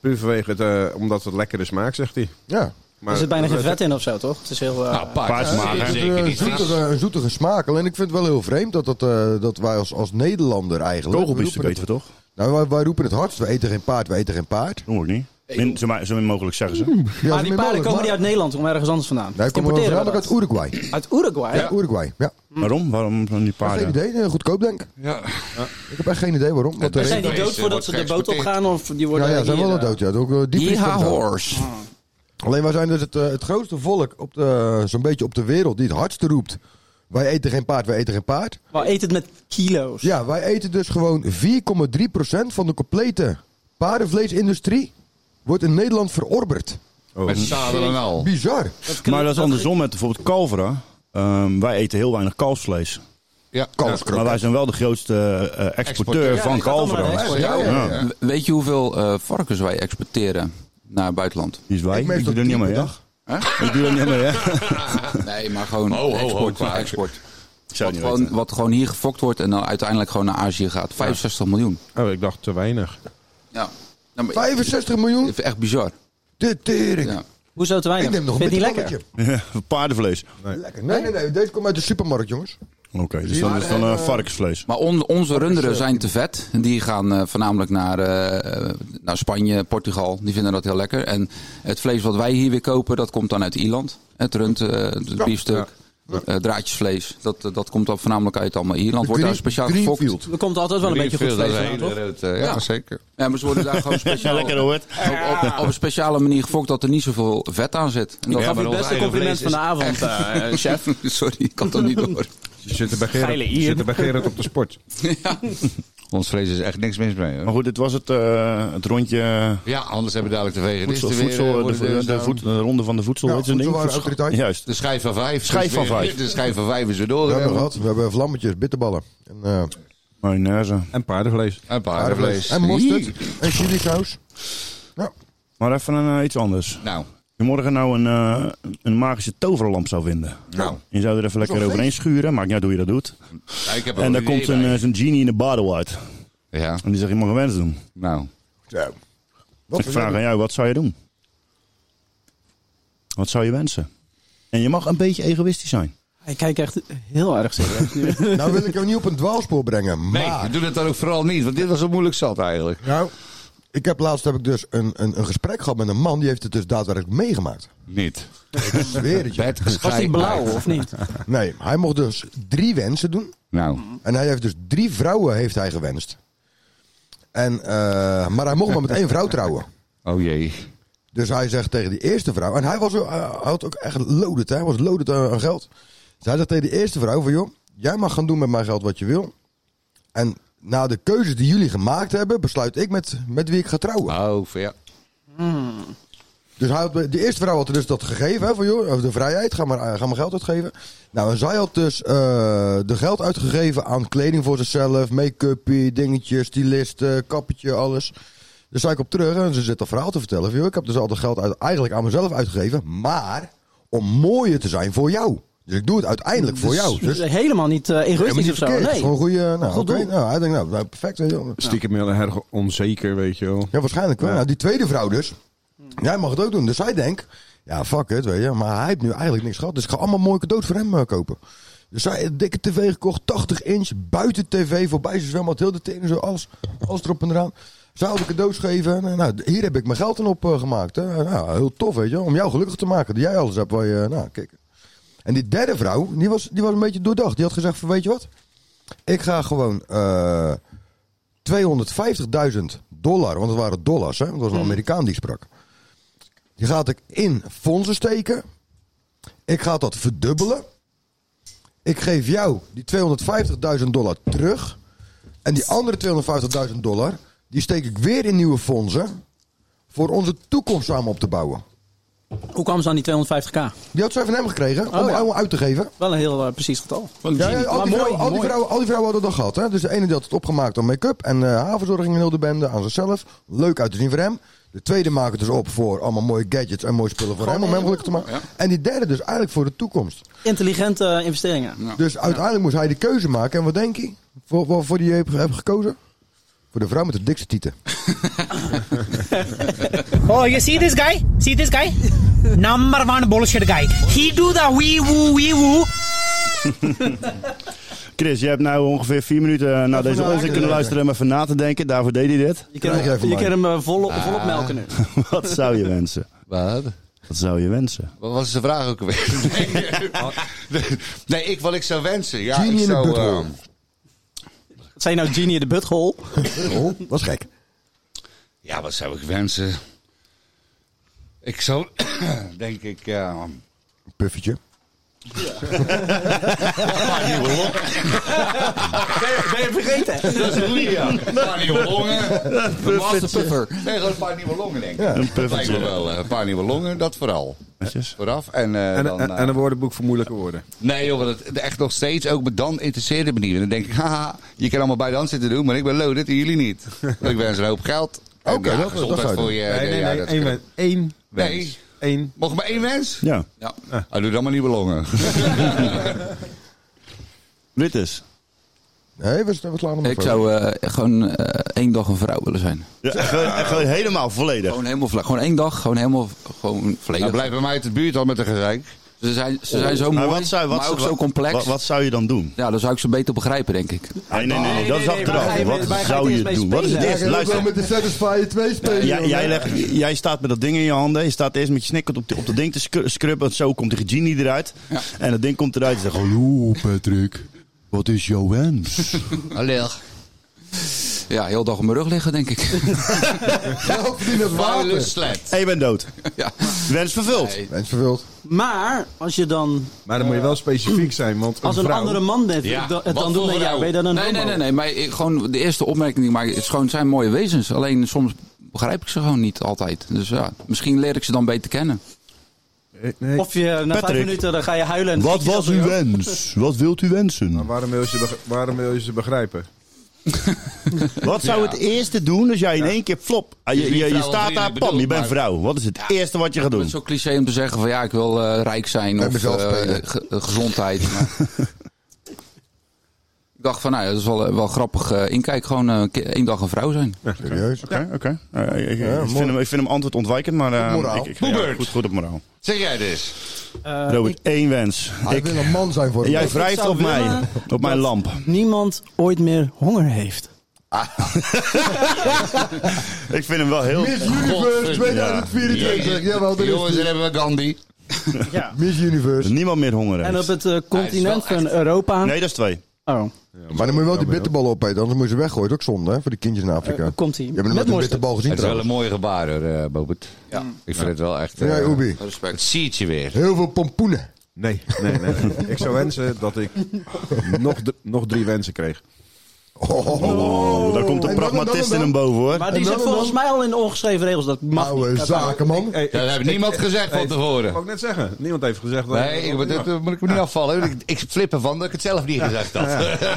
E: Puur vanwege het, eh, omdat het lekkerder smaakt, zegt hij.
D: Ja.
E: Maar
C: er zit bijna
E: dat
C: geen
E: werd-
C: vet in of zo, toch? Het is heel... eh,
D: Het is een, eh, zoetige, een zoetige smaak. Alleen ik vind het wel heel vreemd dat, dat, eh, dat wij als, als Nederlander eigenlijk...
B: Kogelbiefstuk
D: roepen het-
B: weten we toch?
D: Nou, wij, wij roepen het hardst. We eten geen paard, we eten geen paard.
B: Noem ik niet. Min, zo, maar, zo min mogelijk zeggen ze.
D: Ja,
C: maar die paarden komen
D: maar-
C: niet uit Nederland, komen ergens anders vandaan.
D: Nee, komen we
C: Importeren
D: voornamelijk
C: we
D: uit Uruguay.
C: dat? Uit Uruguay?
D: Ja, Uruguay, ja.
B: Waarom? Waarom dan die
E: Ah,
D: Geen
B: paarden?
D: idee, eh, goedkoop denk ik.
F: Ja.
D: Ik heb echt geen idee waarom. Wat de
F: dat
C: Zijn
D: reden-
C: die dood
F: Deze
C: voordat
F: wordt
C: ze de boot
F: geëxporteerd.
C: opgaan? Of die worden
D: Ja, ja, zijn
C: hier,
D: wel
C: eh,
D: dood, ja. Ook, eh, die vliegtuig
I: Yeeha
D: dood.
I: horse.
F: Oh.
D: Alleen wij zijn dus het, eh, het grootste volk op de, zo'n beetje op de wereld die het hardste roept. Wij eten geen paard, wij eten geen paard.
C: Maar eet het met kilo's.
D: Ja, wij eten dus gewoon 4,3% van de complete paardenvleesindustrie wordt in Nederland verorberd.
F: Met zadel en al.
D: Bizar.
B: Maar dat is andersom met bijvoorbeeld kalveren. Ehm, wij eten heel weinig kalfsvlees.
F: Ja,
B: Maar wij zijn wel de grootste eh, eh, exporteur
C: Ja,
B: van
C: dat gaat allemaal naar de
B: kalveren.
C: export.
F: Ja, ja, ja.
I: We- Weet je hoeveel eh, varkens wij exporteren naar het buitenland?
B: Die is wij.
D: Ik meet
B: Ik doe
D: dat
B: er niet
D: tien
B: mee,
D: per
B: hè? [LAUGHS] Ik doe er niet mee, hè?
I: Nee, maar gewoon
F: ho, ho,
I: export.
F: qua
I: qua export.
B: Ik zou
I: Wat,
B: niet
I: gewoon,
B: weten.
I: wat gewoon hier gefokt wordt en dan uiteindelijk gewoon naar Azië gaat. 65 miljoen.
E: Oh, ik dacht te weinig.
I: Ja. Nou, maar,
D: 65 miljoen?
I: het is echt bizar.
D: De tering.
I: Ja.
C: Hoezo te weinig?
D: Ik neem nog een
C: Vind je
D: beetje
C: het niet lekker?
B: [LAUGHS] Paardenvlees.
D: Lekker. Nee, nee, nee. Deze komt uit de supermarkt, jongens.
B: Oké, dus dan is het dan eh, varkensvlees.
I: Maar on- onze runderen zijn te vet. Die gaan eh, voornamelijk naar, eh, eh, naar Spanje, Portugal. Die vinden dat heel lekker. En het vlees wat wij hier weer kopen, dat komt dan uit Ierland. Het rund, eh, het biefstuk, eh, draadjesvlees. Dat, eh, dat komt dan voornamelijk uit allemaal Ierland. Wordt daar speciaal gefokt.
D: Greenfield.
C: Er komt altijd wel een beetje goed vlees aan, toch?
F: Ja, zeker.
I: Ja, maar ze worden daar
B: [LAUGHS]
I: gewoon
B: Ja,
I: speciaal
B: lekker hoor.
I: op, op, op een speciale manier gefokt dat er niet zoveel vet aan zit. En
C: Dat
I: dat
C: gaf
I: ja,
C: je het beste compliment van de avond, eh, chef.
I: [LAUGHS] Sorry, ik kan dat niet door.
E: Ze zitten bij
C: Geile
E: Gerrit, ze
C: Ier.
E: zitten bij Gerrit op de sport.
F: Ons vlees is echt niks mis mee.
B: Maar
F: Hoor.
B: goed, dit was het, eh, het rondje
F: Ja, anders hebben we dadelijk de
B: voedsel,
F: veganisten weer. eh,
B: voedsel, de,
F: worden
B: de,
F: dus
B: de
F: nou-
B: voed- de ronde van de voedsel.
D: Ja,
B: weet je zo'n ding?
D: voedselwarenautoriteit.
B: Juist.
F: De schijf van vijf.
B: Schijf
F: is
B: van
F: weer-
B: vijf.
F: De schijf van vijf is weer door.
D: We hebben gehad. We hebben vlammetjes, bitterballen. En, eh,
B: Mayonaise.
E: En paardenvlees.
F: Een paardenvlees.
D: En mosterd.
F: Hier.
D: En Nou, chili saus.
B: Maar even een, eh, iets anders.
F: Nou,
B: Als je morgen nou een, eh, een magische toverlamp zou vinden.
F: nou.
B: Je zou er even lekker overheen schuren, maakt niet uit hoe je dat doet.
F: Ja, ik heb er
B: En
F: wel
B: daar komt
F: idee
B: een,
F: bij.
B: eh, zo'n genie in een bottle uit.
F: Ja,
B: En die zegt, je mag een wens doen.
F: nou.
D: Ja.
B: Ik vraag aan jou, wat zou je doen? Wat zou je wensen? En je mag een beetje egoïstisch zijn.
C: Hij kijkt echt heel erg serieus nu.
D: Nou wil ik jou niet op een dwaalspoor brengen,
F: Nee,
D: maar...
F: doe dat dan ook vooral niet, want dit was zo moeilijk zat eigenlijk.
D: Nou, ik heb laatst heb ik dus een, een, een gesprek gehad met een man... die heeft het dus daadwerkelijk meegemaakt.
F: Niet.
D: Ik zweer het je.
F: Bed
C: Was hij
F: gescheiden.
C: blauw of niet?
D: Nee, hij mocht dus drie wensen doen.
F: Nou,
D: En hij heeft dus drie vrouwen heeft hij gewenst. En, eh, maar hij mocht maar met één vrouw trouwen.
F: oh jee.
D: Dus hij zegt tegen die eerste vrouw... En hij, was, eh, hij had ook echt loaded, hè. Hij was loaded aan aan geld. Dus hij zegt tegen die eerste vrouw van... joh, jij mag gaan doen met mijn geld wat je wil. En na de keuzes die jullie gemaakt hebben... besluit ik met, met wie ik ga trouwen.
F: Oh, ja.
D: Dus hij had, de eerste vrouw had dus dat gegeven, hè, van joh, de vrijheid, ga maar, eh, ga maar geld uitgeven. Nou, en zij had dus eh, de geld uitgegeven aan kleding voor zichzelf, make-upje, dingetjes, stylisten, kappetje, alles. Dus zij komt terug en ze zit dat verhaal te vertellen van joh, ik heb dus al dat geld uit, eigenlijk aan mezelf uitgegeven, maar om mooier te zijn voor jou. Dus ik doe het uiteindelijk voor jou. Dus
C: Dus helemaal niet eh,
D: helemaal
C: egoïstisch
D: niet
C: of zo.
D: verkeerd. Het is
C: Nee.
D: Gewoon een goede, nou,
C: Goed
D: oké,
C: doel.
D: nou, hij denkt, nou, nou, perfect. hè, joh.
E: Stiekem heel erg onzeker, weet je wel.
D: Ja, waarschijnlijk wel.
E: Ja.
D: Nou, die tweede vrouw dus. Jij mag het ook doen. Dus hij denkt, ja, fuck it, weet je. Maar hij heeft nu eigenlijk niks gehad. Dus ik ga allemaal mooie cadeaus voor hem eh, kopen. Dus zij een dikke tv gekocht, 80 inch, buiten tv, voorbij zijn zwembad, heel de tenen, zo, alles, alles erop en eraan. Zij wilde cadeaus geven. En, eh, nou, hier heb ik mijn geld aan op eh, gemaakt. Hè. Nou, heel tof, weet je, wel, om jou gelukkig te maken. Dat jij alles hebt waar je, nou, kijk. En die derde vrouw, die was, die was een beetje doordacht. Die had gezegd van, weet je wat? Ik ga gewoon eh, 250.000 dollar, want het waren dollars, hè? want het was
C: Hmm.
D: een Amerikaan die sprak. Die gaat ik in fondsen steken. Ik ga dat verdubbelen. Ik geef jou die 250.000 dollar terug. En die andere 250.000 dollar, die steek ik weer in nieuwe fondsen. Voor onze toekomst samen op te bouwen.
C: Hoe kwam ze aan die 250k?
D: Die had zij van hem gekregen om
C: Oh, ja.
D: allemaal uit te geven.
C: Wel een heel eh, precies getal.
D: Ja, ja, al,
C: Maar
D: die
C: mooi,
D: vrouwen, al, die
C: mooi.
D: vrouwen, al die vrouwen hadden dat gehad. Hè? Dus de ene die had het opgemaakt aan make-up en eh haarverzorging en heel de bende aan zichzelf. Leuk uit te zien voor hem. De tweede maakt het dus op voor allemaal mooie gadgets en mooie spullen voor hem om hem gelukkig te maken. En die derde dus eigenlijk voor de toekomst.
C: Intelligente eh, investeringen.
D: Dus uiteindelijk moest hij de keuze maken. En wat denk je? Voor, voor, voor die je hebt hebt gekozen? Voor de vrouw met de dikste tieten.
K: Oh, you see this guy? See this guy? Number one bullshit guy. He do the wee woo wee woo.
B: Chris, je hebt nou ongeveer vier minuten eh, naar deze
C: nou
B: onzin kunnen
C: lekker.
B: luisteren om even na te denken. Daarvoor deed hij dit.
C: Je kan hem, je kan hem eh, volop, volop melken nu.
B: Wat zou je wensen?
F: Wat?
B: Wat zou je wensen?
F: Wat was de vraag ook alweer? nee, [LAUGHS] nee, ik, wat ik zou wensen. Ja,
C: Genie
F: ik
C: in de
F: zou,
C: butthole.
F: eh,
C: Wat zei je nou, Genie in de butthole?
D: was Oh, gek.
F: Ja, wat zou ik wensen? Ik zou, [COUGHS] denk ik... eh,
D: Een puffertje.
F: Paar nieuwe longen.
C: Ben je vergeten?
F: Dat is Lia. Een paar nieuwe longen.
I: eh, De master puffer.
F: Nee, gewoon een paar nieuwe longen, denk ik.
B: Een
F: dat lijkt me
B: puffertje.
F: wel. eh, Een paar nieuwe longen, dat vooral. Vooraf. En, eh,
E: En,
F: dan,
E: en,
F: eh,
E: en een woordenboek voor moeilijke woorden.
F: Nee, joh, want het, echt nog steeds. Ook me dan interesseert het me niet. En dan denk ik, [LAUGHS] haha, je kan allemaal bij de hand zitten doen, maar ik ben loaded en jullie niet. Want ik wens een hoop geld. En
D: Oké,
F: ja,
D: dat- dat
F: gezondheid
D: zou je
F: voor
D: doen.
F: je. eh,
E: Nee, nee,
F: ja,
E: nee.
F: dat is
E: één
F: goed.
E: wens. Eén wens.
F: Nee.
E: Eén.
F: Mocht maar één wens?
B: Ja,
F: Ja. Ah, doe dan maar nieuwe longen.
B: dit is.
D: Nee, we, we slaan hem
I: Ik
D: even.
I: zou eh, gewoon eh, één dag een vrouw willen zijn.
B: Ja, gewoon, gewoon helemaal volledig.
I: Gewoon helemaal vlak. Gewoon één dag, gewoon helemaal gewoon
F: Nou,
I: volledig.
F: blijf bij mij uit de buurt al met een gezeik.
I: ze zijn, ze zijn zo mooi,
B: Maar wat zou, wat,
I: maar ook
B: wat-
I: zo complex.
B: Wat, wat zou je dan doen?
I: Ja, dan zou ik ze beter begrijpen, denk ik.
B: Nee, nee, nee, nee, dat is
C: nee, nee, wij
B: achteraf.
C: gaan
B: Wat
C: even- wij gaan
B: zou
C: eerst
B: je
C: mee
B: doen? Wat is
C: spelen.
B: dit?
D: Jij gaat ook wel
B: Luister.
D: met de Satisfyer 2 spelen.
B: Jij,
D: jongen.
B: jij, legt- jij staat met dat ding in je handen. Je staat eerst met je snikkert op, die- op dat ding te scru- scrubben. want Zo komt die genie eruit. En dat ding komt eruit en zegt... Hallo Patrick, wat is jouw wens?
I: Allee. Ja, heel dag op mijn rug liggen, denk ik. [LAUGHS]
D: Ook verdienen het
F: Vuile
D: water.
F: slet.
B: en je bent dood.
I: ja.
B: Wens vervuld.
I: Nee.
D: Mens vervuld.
C: Maar als je dan
E: Maar dan moet je wel specifiek zijn, want
C: als een
E: vrouw-
C: andere man dit-
F: Ja,
C: dat- het
F: wat
C: dan doet,
F: voor
C: dan ja,
F: vrouw?
C: ben je dan een
I: nee, nee,
C: homo?
I: nee, nee. Maar ik, gewoon de eerste opmerking die ik maak, het, is gewoon, het zijn mooie wezens. Alleen soms begrijp ik ze gewoon niet altijd. Dus ja, misschien leer ik ze dan beter kennen.
E: Eh, Nee.
C: Of je na
B: Patrick.
C: vijf minuten dan ga je huilen. en
B: Wat
C: schiet je
B: was
C: dat
B: uw
C: weer op.
B: wens? Wat wilt u wensen?
E: Maar waarom wil, je ze beg- waarom wil je ze begrijpen?
B: Wat zou het eerste doen als jij in één keer flop... ah,
F: Dus
B: Je,
F: niet
B: je, je
F: vrouw,
B: staat
F: want
B: daar,
F: iedereen
B: pam, je
F: bedoelt,
B: bent
F: maar-
B: vrouw. Wat is het eerste wat je gaat
I: Het
B: doen?
I: is zo cliché om te zeggen van ja, ik wil eh, rijk zijn
D: En
I: of
D: mezelf
I: eh,
D: spelen.
I: ge- eh, gezondheid. maar-
B: [LAUGHS]
I: ik dacht van nou, ja, dat is wel, eh, wel grappig. eh, inkijk, gewoon eh, een keer- één dag een vrouw zijn.
D: Serieus.
B: Oké, oké. Eh, ik- ik- ik,
D: mooi.
B: vind hem, ik vind hem antwoord ontwijkend, maar... eh,
D: Op moraal.
B: ik- ik- ja,
F: Boebert.
B: goed, goed op moraal.
F: Zeg jij dus.
C: Eh,
B: Robert, één wens.
D: Hij
B: Ik,
D: wil een man zijn voor
B: jij
D: hem.
B: wrijft
C: zou
B: op mij.
C: willen
B: Op mijn lamp.
C: Niemand ooit meer honger heeft.
B: Ik vind hem wel heel...
D: Miss Universe
F: Godverdomme.
D: 2024. Jawel, er
F: Jongens,
D: is
F: daar
D: die.
F: hebben we Gandhi.
C: Ja.
D: Miss Universe.
B: Niemand meer honger
C: En
B: heeft.
C: op het eh, continent van Europa.
B: Nee, dat is twee.
C: Oh,
D: Maar dan moet je wel die
E: Ja,
D: bitterballen opeten, anders moet je ze weggooien. Dat is ook zonde, hè, voor die kindjes in Afrika.
C: eh, komt hij.
D: je hebt hem
C: Met
D: met een
C: mosterd.
D: bitterbal gezien
F: Het is wel een
D: trouwens.
F: mooi gebaar, hoor, eh, Bobert. Ja. Ik vind het wel echt... eh,
D: Ja, Oebi.
F: Het
I: Respect.
F: ziet je weer.
D: Heel veel pompoenen.
E: Nee, nee, nee. nee. ik zou wensen dat ik nog, d- nog drie wensen kreeg.
B: Oh, daar komt de
D: En dan-
B: pragmatist
D: dan-
B: in hem
D: dan-
B: boven, hoor.
C: Maar die
D: En
C: zit
D: dan-
C: volgens mij al in de ongeschreven regels. Dat mag
D: Oude
C: niet. Dat mag.
D: zaken, man.
E: Hey,
F: Ja, dat heeft niemand gezegd van
E: Dat
F: tevoren.
E: wou ik net zeggen. Niemand heeft gezegd dat...
F: Nee, ik, dat, eh, moet ik me niet afvallen. Ik, ik flip ervan dat ik het zelf niet gezegd [LAUGHS] had.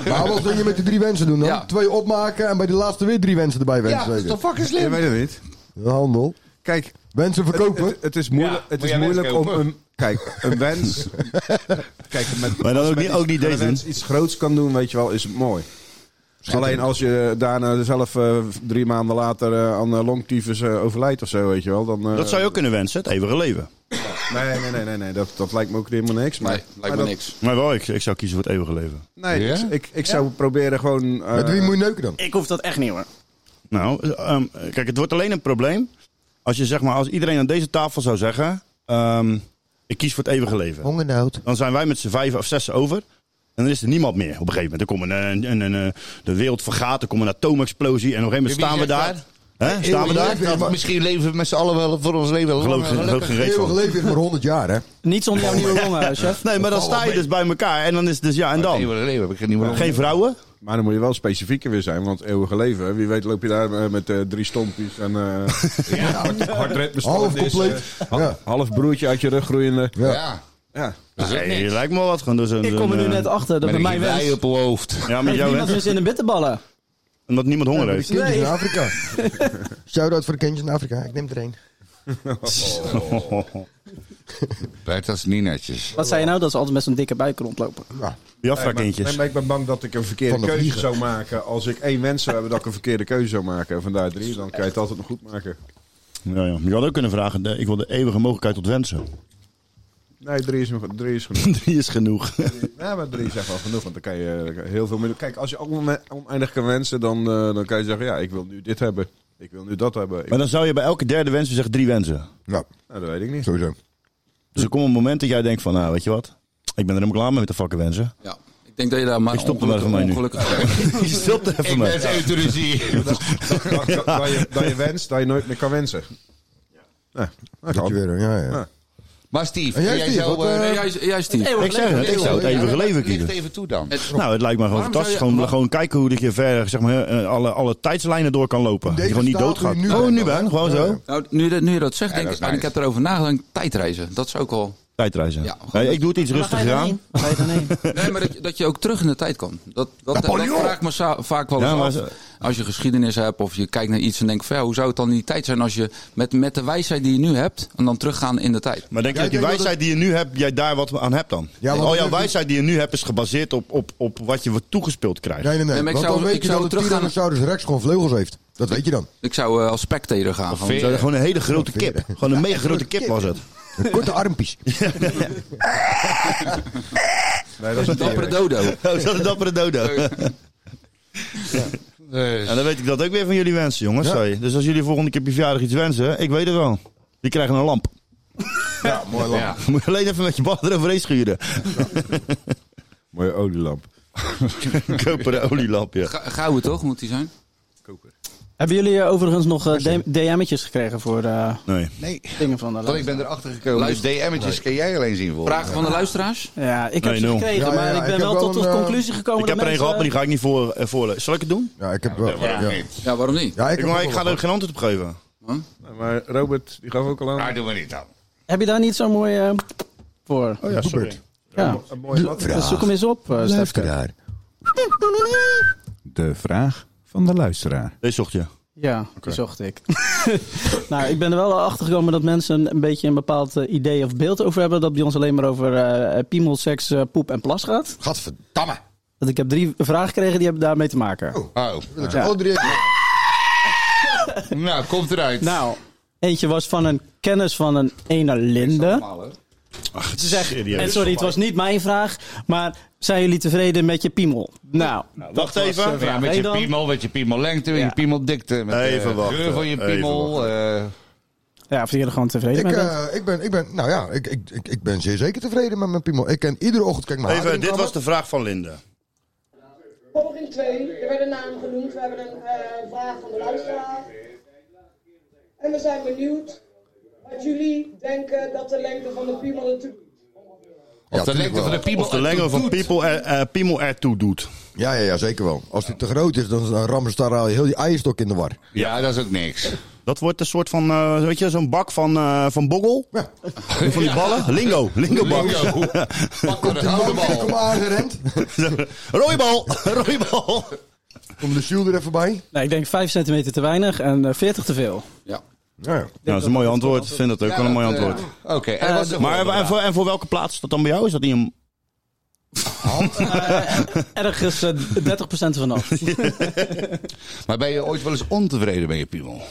D: Maar wat wil je met die drie wensen doen dan?
I: Ja.
D: Twee opmaken en bij die laatste weer drie wensen erbij wensen.
F: Ja, dat is
D: zeker?
F: toch fucking
E: Je
F: slim?
E: weet het niet.
D: Handel.
E: Kijk,
D: Wensen verkopen.
E: Het, het is moeilijk,
F: Ja,
E: het
F: moet
E: is
F: jij wens
E: moeilijk om
F: kopen?
E: een. Kijk, een
F: [LAUGHS]
E: wens. kijk, met,
B: Maar dan
E: als
B: ook
E: men
B: niet-
E: iets-
B: ook niet
E: als
B: deze
E: een wens
B: doen.
E: iets groots kan doen, weet je wel, is het mooi. Alleen als je daarna zelf eh, drie maanden later eh, aan eh, longtyfus eh, overlijdt of zo, weet je wel. Dan, eh,
B: Dat zou je ook kunnen wensen, het eeuwige leven.
E: Nee, nee, nee, nee, nee dat, dat lijkt me ook helemaal niks. Maar,
I: Nee,
E: maar
I: lijkt me
E: dat-
I: niks.
B: Maar wel, ik, ik zou kiezen voor het eeuwige leven.
E: Nee, dus
F: Ja?
E: ik, ik, ik zou proberen gewoon. eh,
D: Met wie moet je neuken dan?
C: Ik hoef dat echt niet hoor.
B: Nou, ehm, kijk, het wordt alleen een probleem als je zeg maar, als iedereen aan deze tafel zou zeggen: ehm, ik kies voor het eeuwige leven.
D: Hongernood.
B: Dan zijn wij met z'n vijf of zes over. En dan is er niemand meer op een gegeven moment. Dan komt een, een, een, een- de wereld vergaat, er komt een atoomexplosie. En op een gegeven moment staan we
F: Wie zegt
B: daar. Hè? Staan we daar?
F: Ja, maar Misschien leven we met z'n allen wel voor ons leven wel
B: Geloof ik
F: langer,
B: geen- geloof ik geen reet
D: Eeuwig
B: van.
D: leven is maar 100 jaar,
B: [LAUGHS]
D: hè?
C: Niet zonder jouw nieuwe longen, chef.
B: Nee, maar dan sta je dus bij elkaar. En dan is het dus ja, en
F: lekker.
B: dan?
F: Eeuwig leven, heb ik geen nieuwe leven.
B: Geen vrouwen?
E: Maar dan moet je wel specifieker weer zijn, want eeuwige leven. Wie weet loop je daar eh, met eh, drie stompjes en eh hard, [LAUGHS] hard
D: Half
B: eh,
D: compleet. Ja.
E: half broertje uit je rug groeiende.
D: eh. Ja.
F: Ja.
E: Ja.
F: Dat is ook
B: Nee,
F: niks.
B: lijkt me wel wat. Gewoon door zo'n-
C: Ik kom er nu
B: zo'n, eh,
C: net achter dat bij
F: Met
C: mij
F: een wei
C: wens.
F: op mijn hoofd.
B: Ja, met
C: [LAUGHS]
B: jou
C: Niemand
B: hè?
C: meer zin in bitterballen.
B: Omdat niemand honger
D: De
B: heeft.
D: kindjes
C: Nee.
D: in Afrika.
B: [LAUGHS]
D: Shout-out voor de kindjes in Afrika. Ik neem er één.
F: Bert, dat is niet netjes.
C: Wat zei je nou? Dat ze altijd met zo'n dikke buik rondlopen.
E: Nee, maar, nee, maar ik ben bang dat ik een verkeerde
C: Van de
E: keuze
C: vliegen.
E: zou maken. Als ik één wens zou hebben dat ik een verkeerde keuze zou maken. En Vandaar drie, dan kan je het altijd nog goed maken.
B: Ja, ja. Je had ook kunnen vragen, eh, ik wil de eeuwige mogelijkheid tot wensen. [LAUGHS]
E: Nee, drie is, nog- drie is genoeg.
B: Drie is genoeg. [LAUGHS]
E: Ja, maar drie is echt wel genoeg, want dan kan je eh, dan kan je heel veel meer doen. Kijk, als je onme- oneindig kan wensen, dan, eh, dan kan je zeggen, ja, ik wil nu dit hebben. Ik wil nu dat hebben. Ik-
B: Maar dan zou je bij elke derde wens weer zeggen drie wensen.
E: Nou, dat weet ik niet.
F: Sowieso.
B: Dus er komt een moment dat jij denkt van, nou weet je wat, ik ben er helemaal klaar mee met de fucking wensen.
I: Ja. Ik denk dat je daar maar
B: Ik stop er maar
I: ongelukkig...
B: even mee nu. [LAUGHS]
I: ongelukkig-
B: Je stopt er even
I: Ik
B: mee.
I: ben
B: Ja.
I: euthanasie.
E: Dat, dat- dat je, dat je wenst, dat je nooit meer kan wensen. Ja, dat
D: je weer, ja, ja.
F: Maar Steve,
D: En jij,
F: en jij
D: Steve,
F: zou...
D: wat,
F: eh,
D: eh,
I: Nee, juist- juist niet.
B: Ik zeg het, eh, ik zou het eeuwige leven kiezen.
F: Licht even toe dan.
B: Nou, het lijkt me gewoon
F: Waarom zou
B: fantastisch.
F: je-
B: Gewoon, gewoon kijken hoe dat je verder zeg maar, eh, alle, alle tijdslijnen door kan lopen. Dat je gewoon niet
I: staat
B: doodgaat.
I: hoe je nu
B: oh,
I: bent
B: nu
I: dan,
B: ben, gewoon zo.
I: Nou, nu, je dat- nu je dat zegt,
B: Ja,
I: denk
B: dat
I: ik,
B: is
I: en ik
B: nice.
I: heb erover nagedacht, tijdreizen. Dat is ook al...
B: Tijdreizen.
I: Ja,
B: Nee, ik doe het iets rustiger aan.
I: Nee, maar dat, je- dat je ook terug in de tijd kan. Dat, dat, dat
B: Napoleon!
I: vraag ik me za- vaak wel eens
B: Ja, maar
I: af.
B: ze-
I: Als je geschiedenis hebt of je kijkt naar iets en denkt... Van, ja, hoe zou het dan in die tijd zijn als je met, met de wijsheid die je nu hebt... en dan teruggaan in de tijd?
B: Maar denk je dat die wijsheid die je nu hebt, jij daar wat aan hebt dan?
I: Ja, want
B: Al
I: dat
B: jouw
I: heeft-
B: wijsheid die je nu hebt is gebaseerd op, op, op wat je wordt toegespeeld krijgt.
D: Nee, nee, nee.
I: maar ik
D: Want
I: zou-
D: dan weet
I: ik
D: je
I: zou
D: dat de
I: teruggaan-
D: Tyrannosaurus Rex gewoon vleugels heeft. Dat weet je dan.
I: Ik zou eh, als spectator gaan.
B: veren. Zou je gewoon een hele grote
I: kip.
B: Gewoon een mega grote kip was het.
D: Korte
B: [LAUGHS]
D: armpjes.
E: Nee,
B: [LAUGHS]
E: dat is een
B: dappere
I: dodo.
B: Oh, is dat een dappere dodo? En dan weet ik dat ook weer van jullie wensen, jongens.
D: Ja.
B: Hey, Dus als jullie volgende keer op je verjaardag iets wensen, ik weet het wel. Die krijgen een lamp.
E: Ja, mooi lamp.
B: Moet je alleen even met je bal eroverheen schuren.
E: Mooie olielamp.
B: [LAUGHS] Koperen olielamp, ja.
I: Ga- Gouden toch, moet die zijn?
C: Hebben jullie eh, overigens nog eh, DM DM'tjes gekregen voor eh,
B: Nee.
F: Nee.
C: dingen van de
F: Want ik ben erachter gekomen.
I: Luister-
F: Dus DM'tjes
I: Nee.
F: kan jij alleen zien. volgens
I: Vragen
F: mij.
I: van de luisteraars?
C: Ja, ik heb
B: Nee,
C: ze
B: nul.
C: gekregen,
B: Ja, ja,
C: maar
B: ja,
C: ik ben
B: ik heb
C: wel
B: wel
C: tot de
B: een, eh,
C: conclusie gekomen
B: Ik
C: dat
B: heb er een
C: mensen-
B: gehad, maar die ga ik niet voor, eh, voorlezen. Zal ik het doen?
D: Ja, ik heb wel.
F: Ja,
D: ja.
F: niet.
I: Ja, waarom niet?
D: Ja, ik
B: ik
D: heb
B: maar
D: ook
B: ik
D: wel
B: ga er geen antwoord op geven.
E: Nee, maar Robert, die gaf ook al aan.
F: Maar doen we niet dan.
C: Heb je daar niet zo mooi eh, voor?
B: Oh ja, sorry.
C: Ja.
E: Een mooie wat.
C: Dus zoek hem eens op, eh Stefke.
E: De vraag van de luisteraar.
B: Deze zocht je.
C: Ja, die zocht ik. [LAUGHS] nou, ik ben er wel achter gekomen dat mensen een beetje een bepaald eh, idee of beeld over hebben. Dat bij ons alleen maar over eh piemel, seks, eh, poep en plas gaat.
F: Gadverdamme.
C: Want ik heb drie vragen gekregen die hebben daarmee te maken.
F: Oh.
D: Wil ik ze
C: Ja.
D: alle drie even-
F: [LAUGHS] Nou, komt eruit.
C: Nou, eentje was van een kennis van een ene Linde.
B: Ze zegt,
C: En sorry, het was niet mijn vraag, maar zijn jullie tevreden met je piemel? Nou,
B: Wacht
C: dat was, eh,
B: even.
C: vraag
F: Ja, met
C: één
F: je
C: dan.
F: piemel, met je piemellengte, met je piemeldikte. Met eh,
B: Even
F: de
B: wachten,
F: geur van je
B: even
F: piemel. eh,
C: Ja, of jullie er gewoon tevreden
D: Ik,
C: mee bent.
D: eh, ik, ben, ik ben, nou ja, ik, ik, ik, ik ben zeer zeker tevreden met mijn piemel. Ik ken iedere ochtend, kijk maar.
B: Even, dit was de vraag van Linde.
L: Poging 2, er werd een naam genoemd. We hebben een eh, vraag van de luisteraar. En we zijn benieuwd wat jullie denken dat de lengte van de piemel ertoe doet.
F: Of de lengte van de piemel.
B: Of de lengte van people er, eh, piemel ertoe doet.
D: Ja, ja, ja, zeker wel. Als die te groot is, dan dan rammen ze daar al heel die eierstok in de war.
F: Ja, dat is ook niks.
B: Dat wordt een soort van, eh, weet je, zo'n bak van, eh van boggel. [LAUGHS] Van die ballen. Lingo, lingo bak. [LAUGHS]
F: Lingo. Pak er een gouden bal.
D: Kom aangerend.
B: Rode bal, rode bal.
D: Kom de Sjoel er even bij.
C: Nee, ik denk 5 centimeter te weinig en eh, 40 te veel.
I: Ja.
D: Ja, ja.
B: Nou, dat is een mooi antwoord. Ik vind dat ook wel een mooi
F: dat, eh,
B: antwoord.
F: Oké, en was er
B: Maar
F: volgende
B: en
F: vraag?
B: voor, en voor welke plaats is dat dan bij jou? Is dat niet een...
C: Ergens eh, 30% vanaf.
F: Maar ben je ooit wel eens ontevreden met je piemel?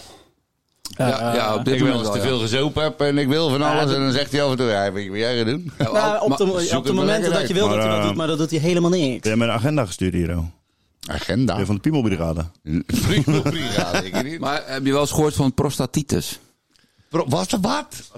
I: Ja, ja, op dit
F: Ik wel
I: moment
F: eens
I: wel,
F: te
I: ja.
F: veel gezopen heb en ik wil van alles.
C: dat-
F: en dan zegt hij af en toe, ja, weet je wat jij gaat doen?
C: Nou, op de,
F: zoek
C: op de
F: het maar
C: momenten
F: lekker
C: dat
F: uit.
C: je wil dat hij
B: Maar,
C: dat
B: eh,
C: doet, maar dat doet hij helemaal niks.
B: Je hebt me een agenda gestuurd hier, oh.
F: Agenda.
B: Weer van de piemelbrigade.
F: [LAUGHS] Priemelbrigade, ik niet.
I: Maar heb je wel eens gehoord van prostatitis?
F: Bro, Was dat wat?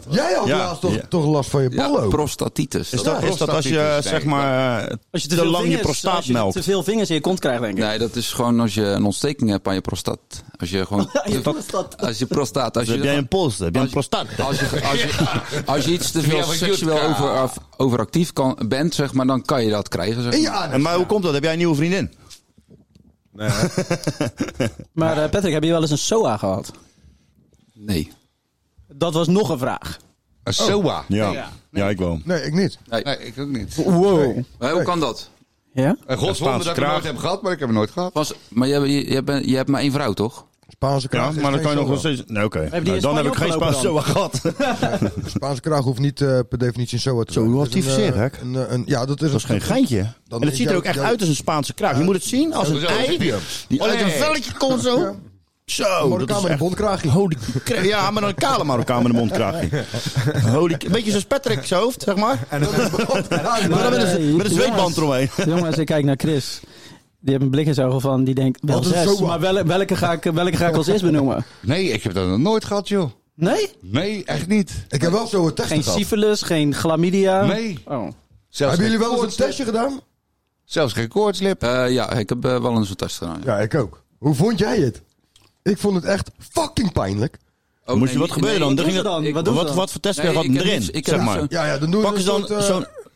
B: Oh.
D: Jij had
B: Ja,
D: laatst toch,
B: ja.
D: toch last van je
I: Ja,
D: ballen? ook?
I: prostatitis.
B: Is dat, is dat als je,
F: prostatitis,
B: zeg
F: nee.
B: maar, eh,
C: Als je te,
B: te
C: veel
B: lang je
C: vingers,
B: prostaat
C: als je
B: melkt?
C: te veel vingers in je kont krijgt, denk ik.
I: Nee, dat is gewoon als je een ontsteking hebt aan je prostaat. Als
B: [LAUGHS]
I: je gewoon...
C: Je prostaat.
I: Als je prostaat... Als
B: Dus
I: je,
B: heb jij een pols? Heb jij een prostaat?
I: Als je, als,
B: [LAUGHS]
I: je, als je iets te veel
F: Ja, wat
I: seksueel
F: Jutka.
I: over, af- overactief kan, bent, zeg maar, dan kan je dat krijgen. Zeg
D: In
I: maar.
D: je anus.
B: En maar hoe komt dat? Heb jij een nieuwe vriendin?
C: Maar eh, Patrick, heb je wel eens een SOA gehad?
I: Nee.
C: Dat was nog een vraag.
F: Een SOA?
B: Ja. Ja, ik wel.
D: Nee, ik niet.
F: Nee, ik ook niet.
C: Wow.
I: Maar hoe kan dat?
C: Ja?
F: Een godswonder dat ik hem
B: kraag.
F: nooit heb gehad, maar ik heb hem nooit gehad.
I: Was, maar jij, jij, jij, bent- jij hebt maar één vrouw, toch?
D: Spaanse
B: Ja,
D: kraag.
B: maar
D: is
B: dan
D: geen
B: kan je nog wel
D: soja.
B: steeds... Nee, oké. Nou, dan heb ik geen Spaanse soja gehad.
D: Spaanse kraag hoeft niet eh, per definitie een soja te
B: Zo,
D: zijn.
B: hoe
D: Het
B: had
D: is
B: die
D: een, eh,
B: verzin,
D: een, eh, een- Ja, dat is
B: Dat is geen geintje. En het
D: is
B: ziet er
D: jouw-
B: ook echt
D: jouw-
B: uit als een Spaanse kraag. Je moet het zien als
D: Ja,
B: een
D: zo,
B: ei
D: heb je hem.
B: die uit een
D: Olé.
B: velletje komt zo.
D: Ja.
B: Zo, dat
D: Marokkaan
B: is
D: met een
B: echt...
D: bondkraagje.
B: Holy cra- ja, maar een kale Marokkaan met een
D: [LAUGHS]
B: mondkraagje. Holy... Een beetje zoals Patrick zijn hoofd, zeg maar. Maar dan met een, met een zweetband eromheen.
C: Jongens, ik kijk naar Chris. Die heeft een blik in zijn ogen van, die denkt, wel
F: Wat een
C: zes,
F: zoa.
C: maar wel- welke, ga ik, welke ga ik als eerst benoemen?
F: Nee, ik heb dat nog nooit gehad, joh.
C: Nee?
F: Nee, echt niet.
D: Ik heb wel zo'n testje
C: Geen
D: gehad.
C: syphilis, geen chlamydia?
F: Nee.
C: Oh.
F: Zelfs
D: Hebben
F: geen,
D: jullie wel eens een testje gedaan?
F: zelfs geen koortslip.
I: Eh, ja, ik heb eh, wel eens een test gedaan. ja.
D: Ja, ik ook. Hoe vond jij het? Ik vond het echt fucking pijnlijk.
I: Oh,
B: [LAUGHS] Moest
I: nee,
B: je wat
I: nee,
B: gebeuren
I: nee,
B: dan? Dan
C: doen
B: ging
C: ze
B: dat-
C: dan? Wat doen ze
B: Wat,
C: dan?
B: wat voor testwerk
I: Nee,
B: had
I: ik
B: hem
I: heb
B: erin,
I: niets- ik heb
B: zeg
I: niets
B: maar?
I: zo-
D: Ja, ja, dan doen
B: Pak
D: we
B: eens
D: een
B: dan
D: soort, eh,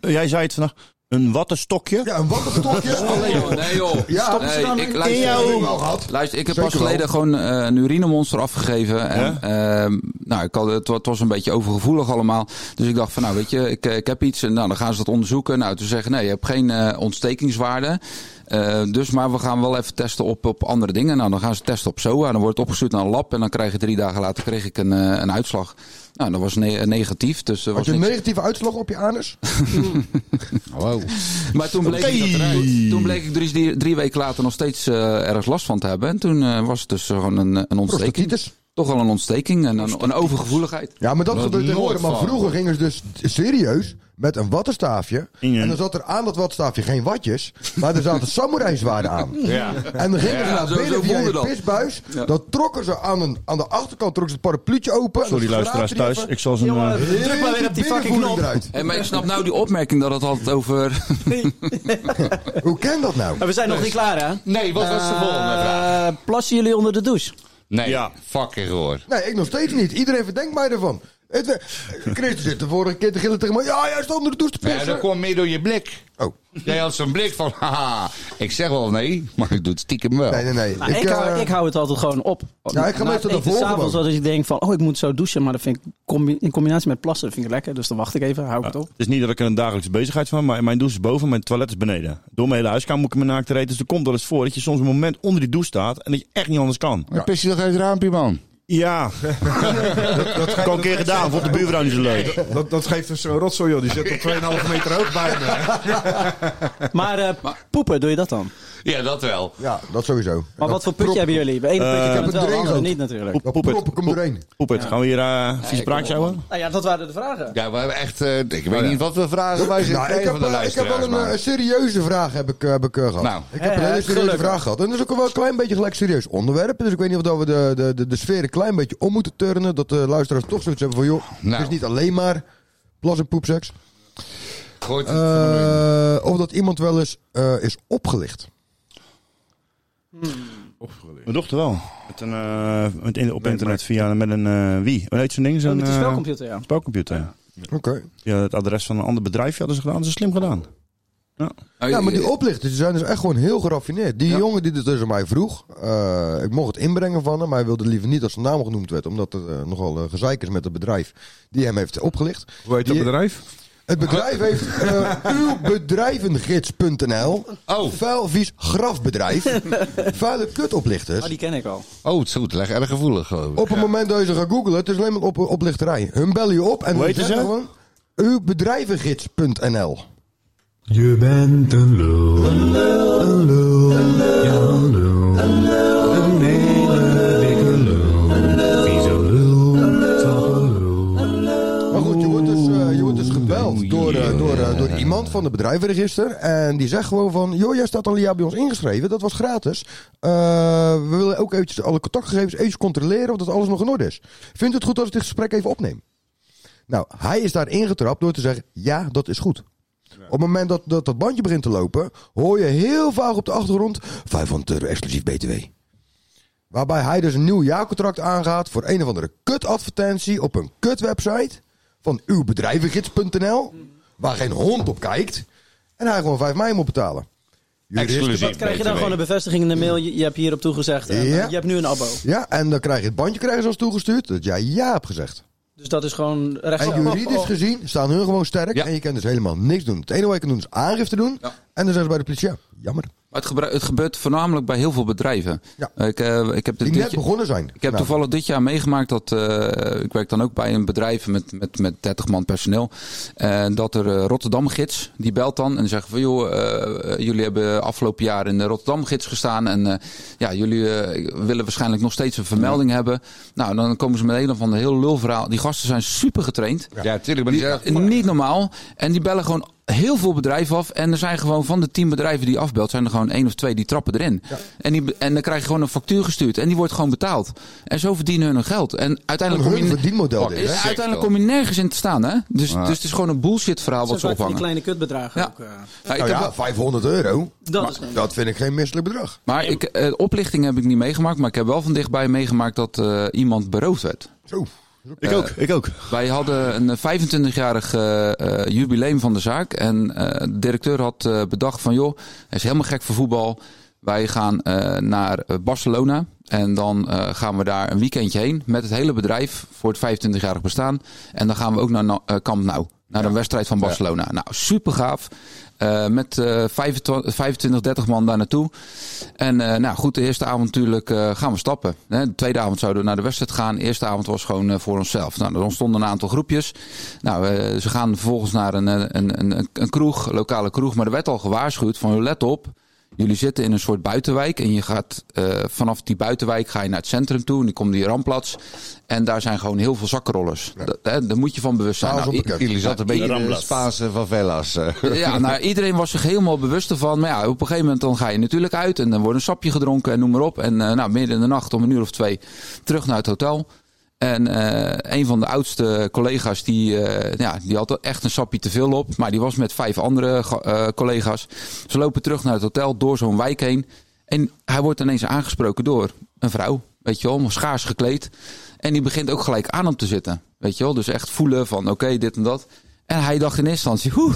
B: zo'n... Jij zei het vandaag. Een wattenstokje.
D: Ja, een wakkerstokje. Alleen.
I: joh, nee joh.
D: Ja,
I: Nee, ik
D: Ik
I: luister-
D: heb het wel gehad.
I: Luister, ik heb
D: Zeker
I: pas geleden
D: wel.
I: gewoon eh, een urinemonster afgegeven. En, ehm, nou, ik had, het, wa- het was een beetje overgevoelig allemaal. Dus ik dacht van, nou weet je, ik, eh, ik heb iets. En nou, dan gaan ze dat onderzoeken. Nou, toen zeggen, nee, je hebt geen eh, ontstekingswaarde. Eh, dus, maar we gaan wel even testen op, op andere dingen. Nou, dan gaan ze testen op SOA. Dan wordt het opgestuurd naar een lab. En dan krijg je drie dagen later kreeg ik een, eh, een uitslag. Nou, dat was ne- negatief. Dus er
D: Had
I: was
D: je een
I: niks.
D: negatieve uitslag op je anus?
F: Wow.
I: Maar toen bleek,
B: Oké.
I: ik, dat eruit. toen bleek ik drie, drie weken later nog steeds eh, ergens last van te hebben. En toen eh, was het dus gewoon een, een ontsteking.
D: Prostatitis.
I: Toch wel een ontsteking en een, een overgevoeligheid.
D: Ja, maar dat
F: Nooit
D: gebeurt tegenwoordig. Maar
F: van.
D: vroeger gingen ze dus serieus met een wattenstaafje.
B: In je-
D: En dan zat er aan dat wattenstaafje geen watjes, maar er zaten samurai-zwaarden aan. En dan gingen ze
I: Ja,
D: naar
I: zo- zo
D: binnen via
I: voelde
D: een
I: dat.
D: pisbuis.
I: Ja.
D: Dan trokken ze aan, een, aan de achterkant trokken ze het parapluutje open. en
B: Sorry
D: dan
B: luisteraars
D: schraapte die
B: thuis.
D: even
B: Ik zal ze... een, eh,
D: heel
C: Druk maar weer op die fucking
D: binnenvoering
C: knop.
D: eruit.
I: Hé, maar ik snap nou die opmerking dat het altijd over... [LAUGHS]
D: Hoe kan dat nou?
C: Maar we zijn nog niet klaar, hè?
F: Nee, wat was de volgende vraag?
C: Eh, plassen jullie onder de douche?
F: Ah. Nee,
B: Ja.
F: fucking hoor.
D: Nee, ik nog steeds niet. Iedereen verdenkt mij ervan. Het, we- Chris zit de vorige keer te gillen tegen mij. Ja, jij stond onder de douche te
F: Ja,
D: pissen.
F: dat kwam meer door je blik.
D: Oh.
F: Jij had zo'n blik van, haha, ik zeg wel nee, maar ik doe het stiekem wel.
D: Nee, nee, nee.
C: Nou, ik, hou,
D: eh,
C: ik hou het altijd gewoon op.
D: Ja, ik ga
C: Na
D: meestal
C: het eten
D: ervoor
C: s'avonds,
D: gewoon.
C: als ik denk van, oh, ik moet zo douchen. Maar dat vind ik combi- in combinatie met plassen vind ik lekker. Dus dan wacht ik even, hou ik het op.
B: Het is niet dat ik er een dagelijkse bezigheid van heb, maar mijn douche is boven, mijn toilet is beneden. Door mijn hele huiskamer moet ik me naakt reten. Dus er komt wel eens voor dat je soms een moment onder die douche staat en dat je echt niet anders kan.
F: Dan pis je toch uit het raampje, man.
B: Ja,
E: Dat,
B: ik
E: ge-
B: al een keer gedaan, vond de buurvrouw niet zo leuk.
E: dat, dat geeft dus zo'n rotzooi, joh. Die zit op 2,5 meter hoog bij me.
C: Maar, eh, poepen, doe je dat dan?
F: Ja, dat wel.
D: Ja, dat sowieso.
C: Maar wat voor putje hebben jullie? Bij ene putje
B: Eh,
C: kan het
D: het
C: wel, de
D: erin
C: andere
D: ook.
C: niet natuurlijk.
B: Poep,
D: Dat
B: poep het.
D: proppen komt
B: Poep-
D: doorheen.
B: Poep het. Gaan we hier eh vieze praatjes houden?
C: Nou ja, dat waren de vragen.
F: Ja, we hebben echt, eh, ik weet niet wat we vragen wij zijn
D: Nou, ik,
F: nou,
D: heb,
F: van de
D: eh, ik heb wel
F: luisteraars.
D: een, eh,
F: maar-
D: serieuze vraag heb ik, eh, heb ik, eh, gehad.
F: Nou.
D: ik heb een
C: Hè,
D: hele serieuze
C: gelukkig.
D: vraag gehad. En dat is ook wel een klein beetje gelijk serieus onderwerp. Dus ik weet niet of dat we de, de, de, de sfeer een klein beetje om moeten turnen. Dat de luisteraars toch zoiets hebben van, joh,
F: Nou.
D: het is niet alleen maar plas- en poepseks.
F: Gooit het gewoon in.
D: Eh, of dat iemand wel eens eh, is opgelicht.
B: Mijn dochter wel. Met een, eh, met in- op
E: Nee,
B: internet via met een eh wie? Hoe heet zo'n ding?
C: Zo
B: Zo'n
C: Oh, met die
B: eh,
C: spelcomputer, ja.
B: spelcomputer. Ja.
D: Oké.
B: Ja, het adres van een ander bedrijfje hadden ze gedaan. Dat is slim gedaan.
D: Ja, maar die oplichters die zijn dus echt gewoon heel geraffineerd. Die
I: Eh, Ja.
D: jongen die dit dus aan mij vroeg, eh, ik mocht het inbrengen van hem, maar hij wilde liever niet dat zijn naam genoemd werd, omdat er eh, nogal eh, gezeik is met het bedrijf die hem heeft opgelicht.
E: Hoe heet dat
D: Die-
E: bedrijf?
D: Het bedrijf heeft eh, uwbedrijvengids.nl.
F: Oh.
D: Vuil, vies, grafbedrijf. Vuile kutoplichters.
C: Ah, die ken ik al.
F: Oh, het is goed. Leg erg gevoelig gewoon.
D: Op het moment dat je ze gaat googlen, het is alleen maar op, oplichterij. Hun bellen je op en
B: Hoe
D: dan
B: heet
D: zeggen
B: ze?
D: gewoon uwbedrijvengids.nl.
H: Je bent een lul, een lul, een lul, ja een lul, een hele dikke lul, vieze lul, zachte lul.
D: Maar goed, je wordt dus, eh, je wordt dus gebeld door, eh, door, eh, door iemand van het bedrijvenregister. En die zegt gewoon van, joh, jij staat al een jaar bij ons ingeschreven. Dat was gratis. Eh, we willen ook eventjes alle contactgegevens eventjes controleren of dat alles nog in orde is. Vindt u het goed als ik dit gesprek even opneem? Nou, hij is daar ingetrapt door te zeggen, ja, dat is goed. Op het moment dat, dat dat bandje begint te lopen, hoor je heel vaag op de achtergrond 500 euro exclusief BTW. Waarbij hij dus een nieuw jaarcontract aangaat voor een of andere kutadvertentie op een kutwebsite van uwbedrijvengids.nl, waar geen hond op kijkt. En hij gewoon 5 mei moet betalen. Juristen-
F: Exclusief.
C: Dat krijg je dan
F: BTW.
C: gewoon een bevestiging in de mail. Je, je hebt hierop toegezegd. En, eh,
D: Ja.
C: Je hebt nu een abo.
D: Ja, en dan krijg je het bandje krijgen zoals toegestuurd dat jij ja hebt gezegd.
C: Dus dat is gewoon recht.
D: En juridisch gezien staan hun gewoon sterk
F: Ja.
D: en je kan dus helemaal niks doen. Het enige wat je kan doen is aangifte doen.
I: Ja.
D: En dan zijn ze bij de politie, ja, jammer.
I: het, gebru- het gebeurt voornamelijk bij heel veel bedrijven. Ik, eh, ik heb dit
D: Die net
I: dit jaar-
D: begonnen zijn. Nou,
I: Ik heb toevallig dit jaar meegemaakt dat. eh, ik werk dan ook bij een bedrijf met, met, met 30 man personeel. En dat er eh, Rotterdam-gids. die belt dan en zegt van. joh, eh, jullie hebben afgelopen jaar in de Rotterdam-gids gestaan. En eh, ja, jullie eh, willen waarschijnlijk nog steeds een vermelding hebben. Nou, dan komen ze met een of ander heel lulverhaal. Die gasten zijn super getraind.
F: Ja, tuurlijk. Maar
I: Die-
F: die zijn echt
I: niet normaal. En die bellen gewoon heel veel bedrijven af. En er zijn gewoon van de tien bedrijven die je afbelt, zijn er gewoon één of twee die trappen erin. En, die, en dan krijg je gewoon een factuur gestuurd. En die wordt gewoon betaald. En zo verdienen hun hun geld. En uiteindelijk
D: Een
I: kom je,
D: hun verdienmodel dit, hè?
I: Ja, uiteindelijk
D: Sector.
I: kom je nergens in te staan. Hè? Dus,
D: Ja.
I: dus het is gewoon een bullshit verhaal
C: Dat
I: wat
C: zijn
I: ze
C: vaak van die
I: ophangen.
C: kleine kutbedragen ook. eh.
D: Nou ja, 500 euro.
C: Dat
D: Maar
C: is geen-
D: dat vind ik geen misselijk bedrag.
I: Maar ik, eh, oplichting heb ik niet meegemaakt. Maar ik heb wel van dichtbij meegemaakt dat eh, iemand beroofd werd.
B: Ik ook, Eh, ik ook.
I: Wij hadden een 25-jarig eh, eh, jubileum van de zaak. En eh, de directeur had eh, bedacht van... joh, hij is helemaal gek voor voetbal. Wij gaan eh, naar eh, Barcelona. En dan eh, gaan we daar een weekendje heen met het hele bedrijf voor het 25-jarig bestaan. En dan gaan we ook naar Na- eh, Camp Nou. Naar een wedstrijd van Barcelona. Nou, super gaaf. Eh, met eh, 25, 25, 30 man daar naartoe. En eh, nou goed, de eerste avond natuurlijk eh, gaan we stappen. Hè, de tweede avond zouden we naar de wedstrijd gaan. De eerste avond was gewoon eh, voor onszelf. Nou, er ontstonden een aantal groepjes. Nou, eh, ze gaan vervolgens naar een, eh, een, een, een, een kroeg, lokale kroeg. Maar er werd al gewaarschuwd van let op. Jullie zitten in een soort buitenwijk en je gaat eh, vanaf die buitenwijk ga je naar het centrum toe en dan komt die rampplaats. En daar zijn gewoon heel veel zakkenrollers. Dat- hè, daar moet je van bewust zijn. Nou, i-
F: Jullie zaten een beetje in de
I: Ramblas.
F: Spaanse favelas. eh.
I: [LAUGHS] Ja, nou, iedereen was zich helemaal bewust ervan. Maar ja, op een gegeven moment dan ga je natuurlijk uit en dan wordt een sapje gedronken en noem maar op. En eh, nou, midden in de nacht om een uur of twee terug naar het hotel. En eh, een van de oudste collega's, die, eh, ja, die had echt een sapje te veel op. Maar die was met vijf andere ga- eh, collega's. Ze lopen terug naar het hotel, door zo'n wijk heen. En hij wordt ineens aangesproken door een vrouw, weet je wel, maar schaars gekleed. En die begint ook gelijk aan hem te zitten, weet je wel. Dus echt voelen van oké, dit en dat. En hij dacht in eerste instantie, [LAUGHS] hoe,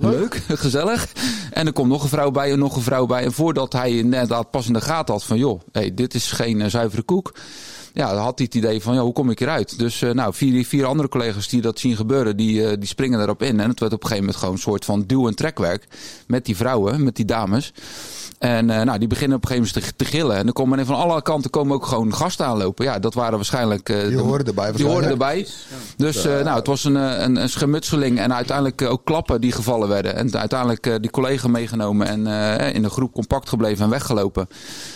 I: leuk, [LAUGHS] gezellig. En er komt nog een vrouw bij en nog een vrouw bij. En voordat hij inderdaad pas in de gaten had van, joh, hey, dit is geen eh, zuivere koek. Ja, dan had hij het idee van, ja, hoe kom ik hieruit? Dus eh, nou, vier, vier andere collega's die dat zien gebeuren, die, eh, die springen erop in. En het werd op een gegeven moment gewoon een soort van duw- en trekwerk met die vrouwen, met die dames. En eh, nou, die beginnen op een gegeven moment te, te gillen. En dan komen er van alle kanten komen ook gewoon gasten aanlopen. Ja, dat waren waarschijnlijk... eh,
D: Die
I: de-
D: horen erbij
I: Die horen
D: waarschijnlijk.
I: erbij. Dus eh, nou, het was een, eh, een, een schermutseling en uiteindelijk eh, ook klappen die gevallen werden. En uiteindelijk eh, die collega meegenomen en eh, in de groep compact gebleven en weggelopen.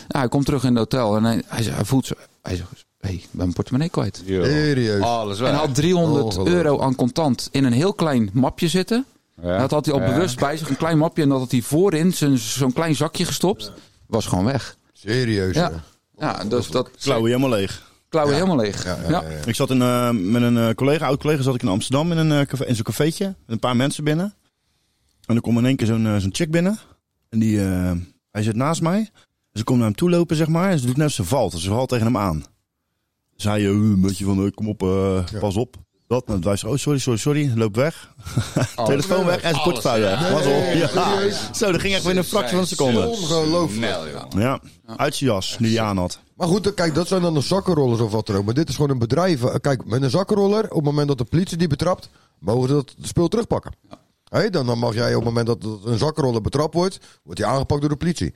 I: Nou, hij komt terug in het hotel en hij, hij, zegt- hij voelt zo. Hij zegt, hé, hey, ik ben mijn portemonnee kwijt.
D: Serieus.
F: Alles weg.
I: En had 300
F: Ongelooflijk.
I: euro aan contant in een heel klein mapje zitten. Dat had hij al
F: Ja.
I: bewust bij zich, een klein mapje. En dat had hij voorin zijn- zo'n klein zakje gestopt. Was gewoon weg.
D: Serieus.
I: Ja, ja dus dat...
B: Klauwen helemaal leeg.
I: Klauwen helemaal leeg. ja.
B: Ik zat in, eh, met een eh, collega, oud collega, zat ik in Amsterdam in, een, eh, café, in zo'n cafeetje. Met een paar mensen binnen. En er komt in één keer zo'n eh, zo'n chick binnen. En die, eh, hij zit naast mij. En ze komt naar hem toe lopen, zeg maar. En ze doet net als ze valt. Ze valt tegen hem aan. Dus hij eh, een beetje van, eh, kom op, eh, pas op. Dat, en hij zegt, oh sorry, sorry, sorry, loop weg. [LAUGHS] Telefoon weg en zijn
F: Alles,
B: portefeuille weg.
F: ja.
B: Was op.
F: Nee,
B: Ja.
F: serieus?
B: Zo, dat ging echt weer in een fractie van een seconde.
D: Ongelooflijk.
B: Ja, uit zijn jas die hij aan had.
D: Maar goed, eh, kijk, dat zijn dan de zakkenrollers of wat dan ook. Maar dit is gewoon een bedrijf. eh, Kijk, met een zakkenroller, op het moment dat de politie die betrapt, mogen ze dat spul terugpakken. Hé, dan, dan mag jij op het moment dat dat een zakkenroller betrapt wordt, wordt hij aangepakt door de politie.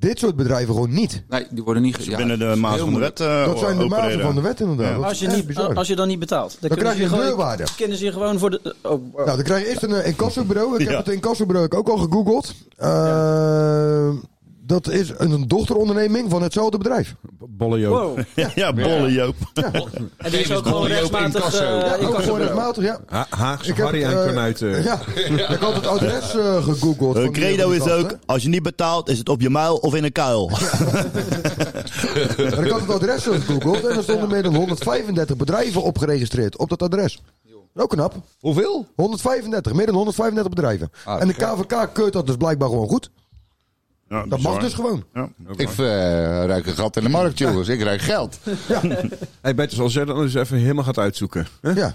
D: Dit soort bedrijven gewoon niet.
I: Nee, die worden niet... ge- Ja,
B: binnen de maat van de wet eh,
D: dat zijn de mazen
B: opereren.
D: van de wet inderdaad. Dat
C: Als je,
D: is echt
C: niet,
D: bizar.
C: als je dan niet betaalt, dan,
D: Dan
C: kunnen
D: krijg
C: ze
D: je een
C: gewoon-
D: deurwaarde.
C: Kennen ze je gewoon voor de. Oh, wow.
D: Nou, dan krijg je eerst een eh, incassobureau. Ik
B: Ja.
D: heb het incassobureau ik ook al gegoogeld. Eh, Dat is een dochteronderneming van hetzelfde bedrijf.
E: Bolle
C: Wow.
B: Ja, [LAUGHS] ja, bolle Joop.
C: En die is ook gewoon
F: Joop
C: rechtsmatig.
F: Incasso.
C: eh,
F: Ja,
D: ook
C: incassobureau.
D: gewoon rechtmatig, ja.
E: Ha Haagse
D: Ik heb
E: Harry
D: het,
E: en
D: eh,
E: Kornuiten.
D: Ja, ik had het adres eh, gegoogeld.
B: Hun
D: van die-
B: credo
D: van die
B: is
D: gasten.
B: ook, als je niet betaalt, is het op je muil of in een kuil. [LAUGHS]
D: Maar ik had het adres gegoogeld en er stonden meer dan 135 bedrijven op geregistreerd op dat adres. Ook knap.
F: Hoeveel?
D: 135, meer dan 135 bedrijven.
F: Ah,
D: en de
F: ja.
D: KVK keurt dat dus blijkbaar gewoon goed.
B: Ja,
D: Dat
B: bizar.
D: mag dus gewoon.
B: Ja.
F: Ik eh, ruik een gat in de markt, jongens. Ik ruik geld.
E: Hey, beter als jij dat eens even helemaal gaat uitzoeken. hè?
D: Ja.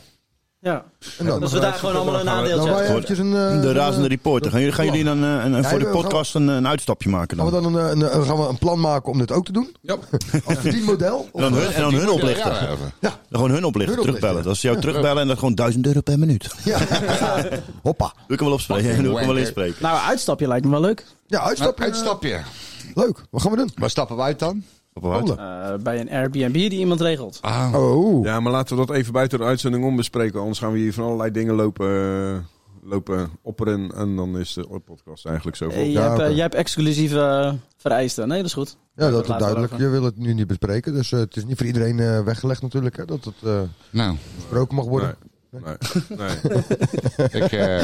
C: Ja.
D: En dan?
C: dat we daar gewoon allemaal een
D: Dan
C: aandeeltje
D: wij
C: hebben.
D: eventjes een... eh,
B: de
D: een,
B: razende
D: eh,
B: reporter. Gaan jullie, gaan jullie dan eh, een, een-
D: Ja,
B: voor de
D: we gaan-
B: podcast een, een uitstapje maken
D: Gaan we
B: dan?
D: dan een, een, een- gaan we een plan maken om dit ook te doen?
F: Ja.
B: [LAUGHS]
D: Als verdienmodel?
B: En dan hun, en dan hun oplichten.
F: Ja, ja, ja.
B: Dan Gewoon hun oplichten,
D: Hun
B: terugbellen. Dat ze jou terugbellen en dat gewoon 1000 euro per minuut. [LAUGHS]
E: [LAUGHS]
D: Ja. Hoppa.
B: Doe ik hem wel opspreken. Doe ik hem wel inspreken.
C: Nou, een uitstapje lijkt me wel leuk.
D: Ja, uitstapje.
F: Uitstapje.
D: Leuk. Wat gaan we doen?
F: Waar stappen we uit dan?
C: Eh, bij een Airbnb die iemand regelt.
D: Oh.
E: Ja, maar laten we dat even buiten de uitzending om bespreken. Anders gaan we hier van allerlei dingen lopen, eh, lopen opperen. En dan is de podcast eigenlijk zo vol.
C: Eh, jij, hebt, eh, jij hebt exclusieve eh, vereisten. Nee, dat is goed.
D: Ja, dat is
C: laten we
D: duidelijk.
C: erover.
D: Je wil het nu niet bespreken, dus eh, het is niet voor iedereen eh, weggelegd natuurlijk, hè, dat het eh,
F: Nou,
D: besproken mag worden.
E: Nee, nee.
F: ik, eh,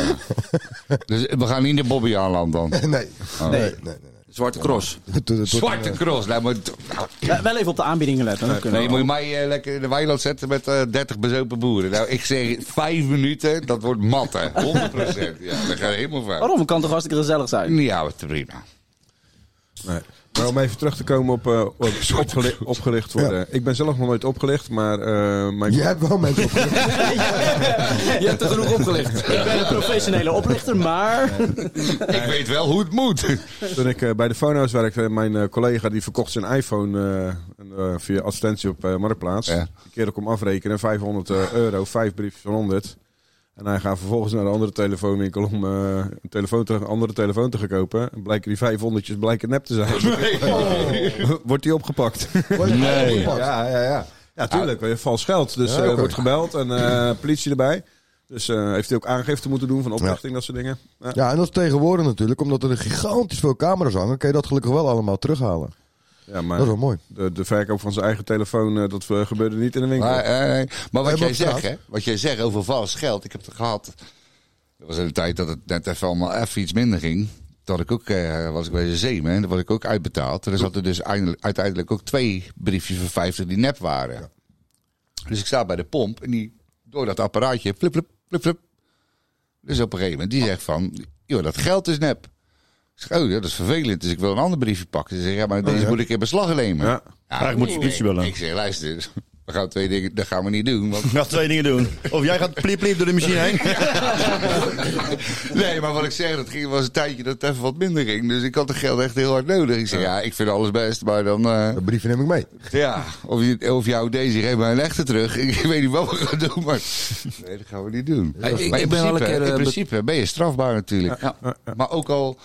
F: dus we gaan niet naar Bobby aanland dan.
D: [LAUGHS] Nee. nee.
F: Oh.
D: nee, nee, nee.
I: Zwarte cross.
D: Tot- tot-
F: Zwarte cross. Nou, maar, nou,
C: Ja, wel even op de aanbiedingen letten. dan kunnen
F: nee,
C: we
F: moet je mij eh, lekker in de weiland zetten met eh 30 bezopen boeren. Nou, ik zeg vijf minuten, dat wordt mat, hè.
I: [LAUGHS]
F: 100 Ja, dat gaat helemaal fout.
C: Waarom? Het kan toch hartstikke gezellig zijn? [LAUGHS]
F: Ja, wat prima.
E: Nee. Maar om even terug te komen op, eh, op opgeli- opgelicht worden. Ik ben zelf nog nooit opgelicht, maar eh, mijn...
D: Je hebt wel mensen
E: [LAUGHS]
D: opgelegd.
I: Je hebt er genoeg opgelicht.
C: Ik ben een professionele oplichter, maar...
F: Ik weet wel hoe het moet.
E: Toen ik eh, bij de Phonehouse werkte, mijn eh, collega die verkocht zijn iPhone eh, en, eh, via advertentie op eh, Marktplaats.
F: Ja.
E: Die kerel kom afrekenen, 500 euro, vijf briefjes van 100. En hij gaat vervolgens naar de andere telefoonwinkel om eh, een, telefoon te, een andere telefoon te gaan kopen. En blijken die 500 blijken nep te zijn. [LAUGHS] Wordt die opgepakt?
F: Nee.
E: ja, ja, ja. Ja, tuurlijk. eh, Vals geld. Dus
D: Ja,
E: eh,
D: oké.
E: wordt gebeld en eh, politie erbij. Dus eh, heeft hij ook aangifte moeten doen van oplichting, dat soort dingen. Ja.
D: Ja, en dat is tegenwoordig natuurlijk, omdat er gigantisch veel camera's hangen, kun je dat gelukkig wel allemaal terughalen.
E: Ja, maar
D: Dat is wel mooi.
E: de, de verkoop van zijn eigen telefoon, eh, dat eh, gebeurde niet in de winkel.
F: Maar, eh, nee. maar wat,
D: Hebben
F: jij
D: we op
F: zegt, hè, wat jij zegt over vals geld, ik heb het gehad. Dat was in de tijd dat het net even allemaal even iets minder ging. Toen had ik ook, eh, was ik bij de zeeman, dan was ik ook uitbetaald. Er zaten dus eindelijk- uiteindelijk ook twee briefjes van 50 die nep waren. Dus ik sta bij de pomp en die, door dat apparaatje, flip, flip, flip, flip. Dus op een gegeven moment, die zegt van, joh, dat geld is nep. Ik zeg, oh, ja, dat is vervelend, dus ik wil een ander briefje pakken. Ze zeggen, Oh, ja, maar deze moet ik in beslag nemen.
E: Ja.
B: Eigenlijk moet je politie bellen.
F: Ik zeg, luister, [LAUGHS] we gaan twee dingen, dat gaan we niet doen. [LAUGHS] Want...
B: Je gaat twee dingen doen. Of jij gaat pliep pliep door de machine
D: [LAUGHS]
B: heen.
F: nee, maar wat ik zeg, dat ging, was een tijdje dat het even wat minder ging. Dus ik had het geld echt heel hard nodig. Ik zeg, ja, ik vind alles best, maar dan... eh,
D: De brieven neem ik mee.
F: ja, of, je, of jou deze, geef mij een echte terug. Ik [LAUGHS] weet niet wat we gaan doen, maar... Nee, dat gaan we niet doen.
I: Hey, ik- ik
F: maar in,
I: ben wel een
F: principe,
I: keer, eh,
F: in
I: be-
F: principe ben je strafbaar natuurlijk.
I: Ja.
F: Maar ook al,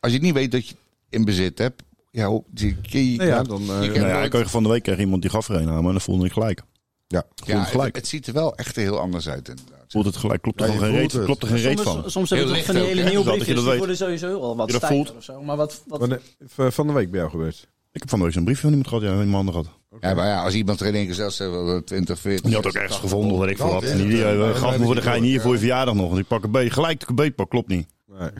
F: als je niet weet dat je in bezit hebt... Ja, hoe- die- die-
E: Nou ja, dan, eh,
F: je kent
B: Nou ja,
F: nooit-
B: ik kreeg van de week kreeg iemand die gaf er een aan, maar dan voelde ik gelijk.
F: ja,
B: gelijk.
F: het, het ziet er wel echt heel anders uit inderdaad.
B: Voelt het gelijk. Klopt er
D: Ja, je
B: gewoon geen
D: voelt
B: reet,
D: het.
B: klopt er geen reet van.
C: Soms, soms heb je
F: Heel
C: toch van
F: licht
C: die
F: ook,
C: hele
F: hè?
B: Dat
C: nieuwe
B: je
C: briefjes.
B: dat
C: Die
B: weet.
C: worden sowieso al wat
B: Je dat
C: stijver
B: voelt.
C: of zo. Maar wat... wat
E: Wanneer- v- van de week bij jou gebeurd.
B: Ik heb van de week zo'n briefje van iemand gehad. Ja, in mijn handen gehad.
F: Ja, maar ja, als iemand er in één keer zelfs eh, wel 20, 40...
B: Die had ook ergens gevonden, weet ik veel
D: Dat
B: wat.
D: is
B: En die eh,
D: het. Ja,
B: gaf me voor de gein hier voor je verjaardag nog. Want ik pak een beet. Gelijk dat ik een beet pak, klopt niet.
E: Nee.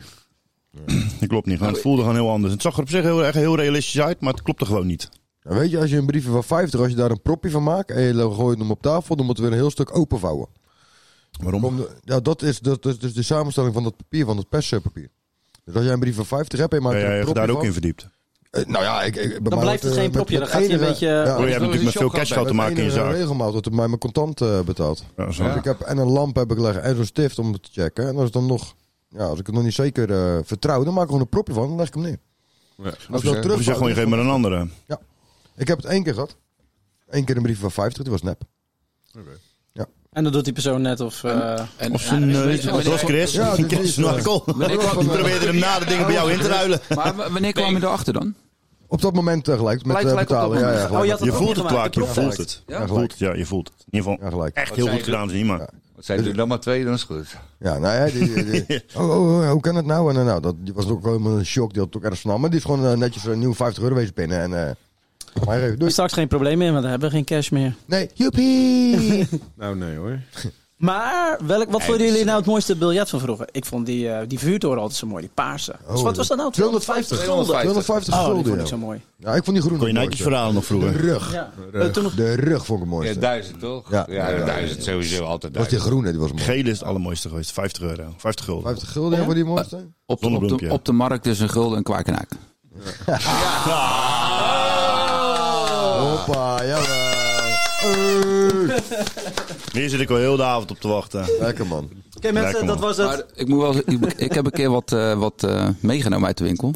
B: [CLEARS THROAT] Dat klopt niet. Gewoon, het voelde gewoon heel anders. Het zag er op zich heel, echt heel realistisch uit, maar het klopte gewoon niet.
D: Nou, weet je, als je een briefje van 50, als je daar een propje van maakt en je gooit hem op tafel, dan moeten we weer een heel stuk openvouwen.
B: Waarom?
D: Om de- ja, dat is, dat is dus de samenstelling van dat papier, van dat perspapier. Dus als jij een brief van 50 hebt en je maakt
B: Ja,
D: er
B: jij
D: een
B: hebt
D: propje
B: daar ook
D: van-
B: in verdiept.
D: Eh, nou ja, ik, ik, bij mij
C: blijft
D: wordt,
C: het
D: eh,
C: geen
D: met-
C: propje,
D: met
C: dan gaat hij een
D: enige-
C: beetje-
D: Ja,
B: Oh, je
F: is
B: hebt natuurlijk
F: wel
B: met
F: een
B: veel cash gehad te maken in je
D: enige
B: zaak.
D: regelmaat dat mij mijn contant eh, betaalt.
B: Ja, zo.
D: Dus ik heb, en een lamp heb ik liggen en zo'n stift om het te checken. En als, het dan nog, ja, als ik het nog niet zeker eh, vertrouw, dan maak ik gewoon een propje van en leg ik hem neer. Als ik dat
B: Of je zegt gewoon, je geeft maar een andere.
D: Ik heb het één keer gehad. Eén keer een brief van 50, die was nep.
C: En dat doet die persoon net of... eh,
I: En,
B: Of zijn
I: ja,
B: neus.
I: ja,
B: Dat was Chris.
D: Ja, dit
B: Chris
D: is, eh,
B: Snorkel.
I: wanneer kwam-
B: Die probeerde hem na de dingen bij jou in te ruilen.
I: Maar w- wanneer kwam je erachter dan?
D: Op dat moment eh, gelijk met
I: Gelijk-
D: eh,
I: gelijk op dat
D: betalen. Ja,
I: moment.
D: ja,
I: Oh,
D: gelijk.
C: je had
B: Je
C: dat
B: voelt
C: ook
B: het,
C: gemaakt,
B: Klaak. Je
C: de
B: voelt het.
D: Ja,
B: Je voelt
D: gelijk.
B: het, ja, je voelt het. In ieder
D: Ja,
B: geval
D: gelijk.
B: echt heel
F: zei
B: goed
F: je?
B: gedaan, zie je maar.
F: Wat zijn er dan maar twee, dan is het goed.
D: Ja, nou ja, die, die- die- oh, oh, oh, hoe kan het nou? En eh, nou, dat die was ook helemaal een shock, die had het ook ergens van. Maar die is gewoon eh, netjes een nieuw 50 euro wezen binnen. En, eh, maar even, doei.
C: Straks geen probleem meer, want dan hebben we geen cash meer.
D: Nee, joepie!
E: Nou, nee hoor.
C: Maar welk, wat vonden jullie nou het mooiste biljet van vroeger? Ik vond die, eh, die vuurtoren altijd zo mooi, die paarse. dus wat was dat nou? 250 gulden.
D: 250
C: Oh, die
D: Oh, gulden.
C: vond ik zo
D: ja.
C: mooi.
D: Ja, ik vond die groene
B: Kon je netjes
D: het mooiste.
B: verhalen nog vroeger.
D: De rug.
C: Ja. Eh, toen nog,
D: De rug vond ik het mooiste.
F: duizend toch?
D: Ja.
F: Ja,
D: Ja, ja,
F: duizend sowieso altijd
D: was die
F: duizend.
D: groene, die was mooi.
B: Gele is het allermooiste geweest. 50 euro. 50 gulden.
D: 50 gulden hebben we die mooiste?
I: Op de, op, de,
B: Zonnebloempje.
I: op de markt is een gulden en kwakenaak.
F: Oh.
D: Hoppa, jawel.
B: Hier zit ik al heel de avond op te wachten.
D: Lekker man.
C: Oké mensen, dat was
I: Maar
C: het.
I: ik, moet wel, ik, ik heb een keer wat, eh, wat eh, meegenomen uit de winkel.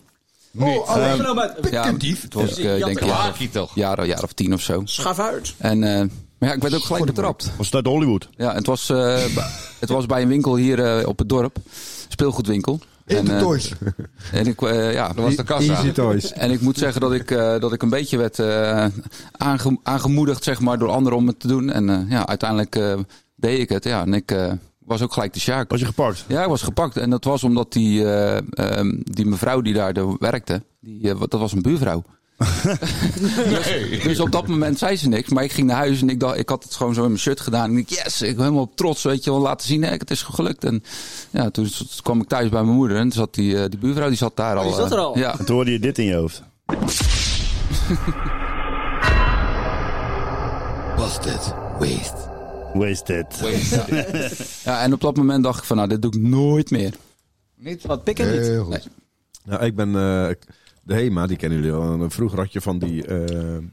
C: Oh,
D: ehm,
C: alleen genomen uit-
I: Ja, het was ik eh, denk een jaar, of- jaar, jaar of tien of zo.
C: Schaf uit.
I: En, eh, maar ja, ik werd ook gelijk betrapt.
B: Was het uit Hollywood?
I: Ja, het was, eh,
D: [LAUGHS]
I: bij- het was bij een winkel hier eh, op het dorp. Speelgoedwinkel. En, eh,
D: Intertoys.
I: en ik, eh, ja, dat was de kassa.
D: Easy Toys.
I: En ik moet zeggen dat ik, eh, dat ik een beetje werd eh, aange- aangemoedigd zeg maar, door anderen om het te doen. En eh, ja, uiteindelijk eh, deed ik het. Ja, en ik eh, was ook gelijk de Sjaak.
B: Was je gepakt?
I: Ja, ik was gepakt. En dat was omdat die, eh, ehm, die mevrouw die daar de- werkte, die, eh, dat was een buurvrouw. Dus op dat moment zei ze niks. Maar ik ging naar huis en ik, dacht, ik had het gewoon zo in mijn shirt gedaan. En ik dacht, yes, ik ben helemaal op trots, weet je wel. Laten zien, hè, het is gelukt. En ja, toen s- kwam ik thuis bij mijn moeder. En toen zat die, eh, die buurvrouw, die zat daar al.
C: Oh, die zat er
I: eh,
C: al?
I: Ja.
B: En toen hoorde je dit in je hoofd.
F: Busted. Waste.
B: Wasted.
I: ja, en op dat moment dacht ik van, nou, dit doe ik nooit meer.
F: Niet?
C: Wat pikken niet.
D: Heel goed.
E: Nou, ik ben eh, de Hema, die kennen jullie wel. En Vroeger had je van die, eh,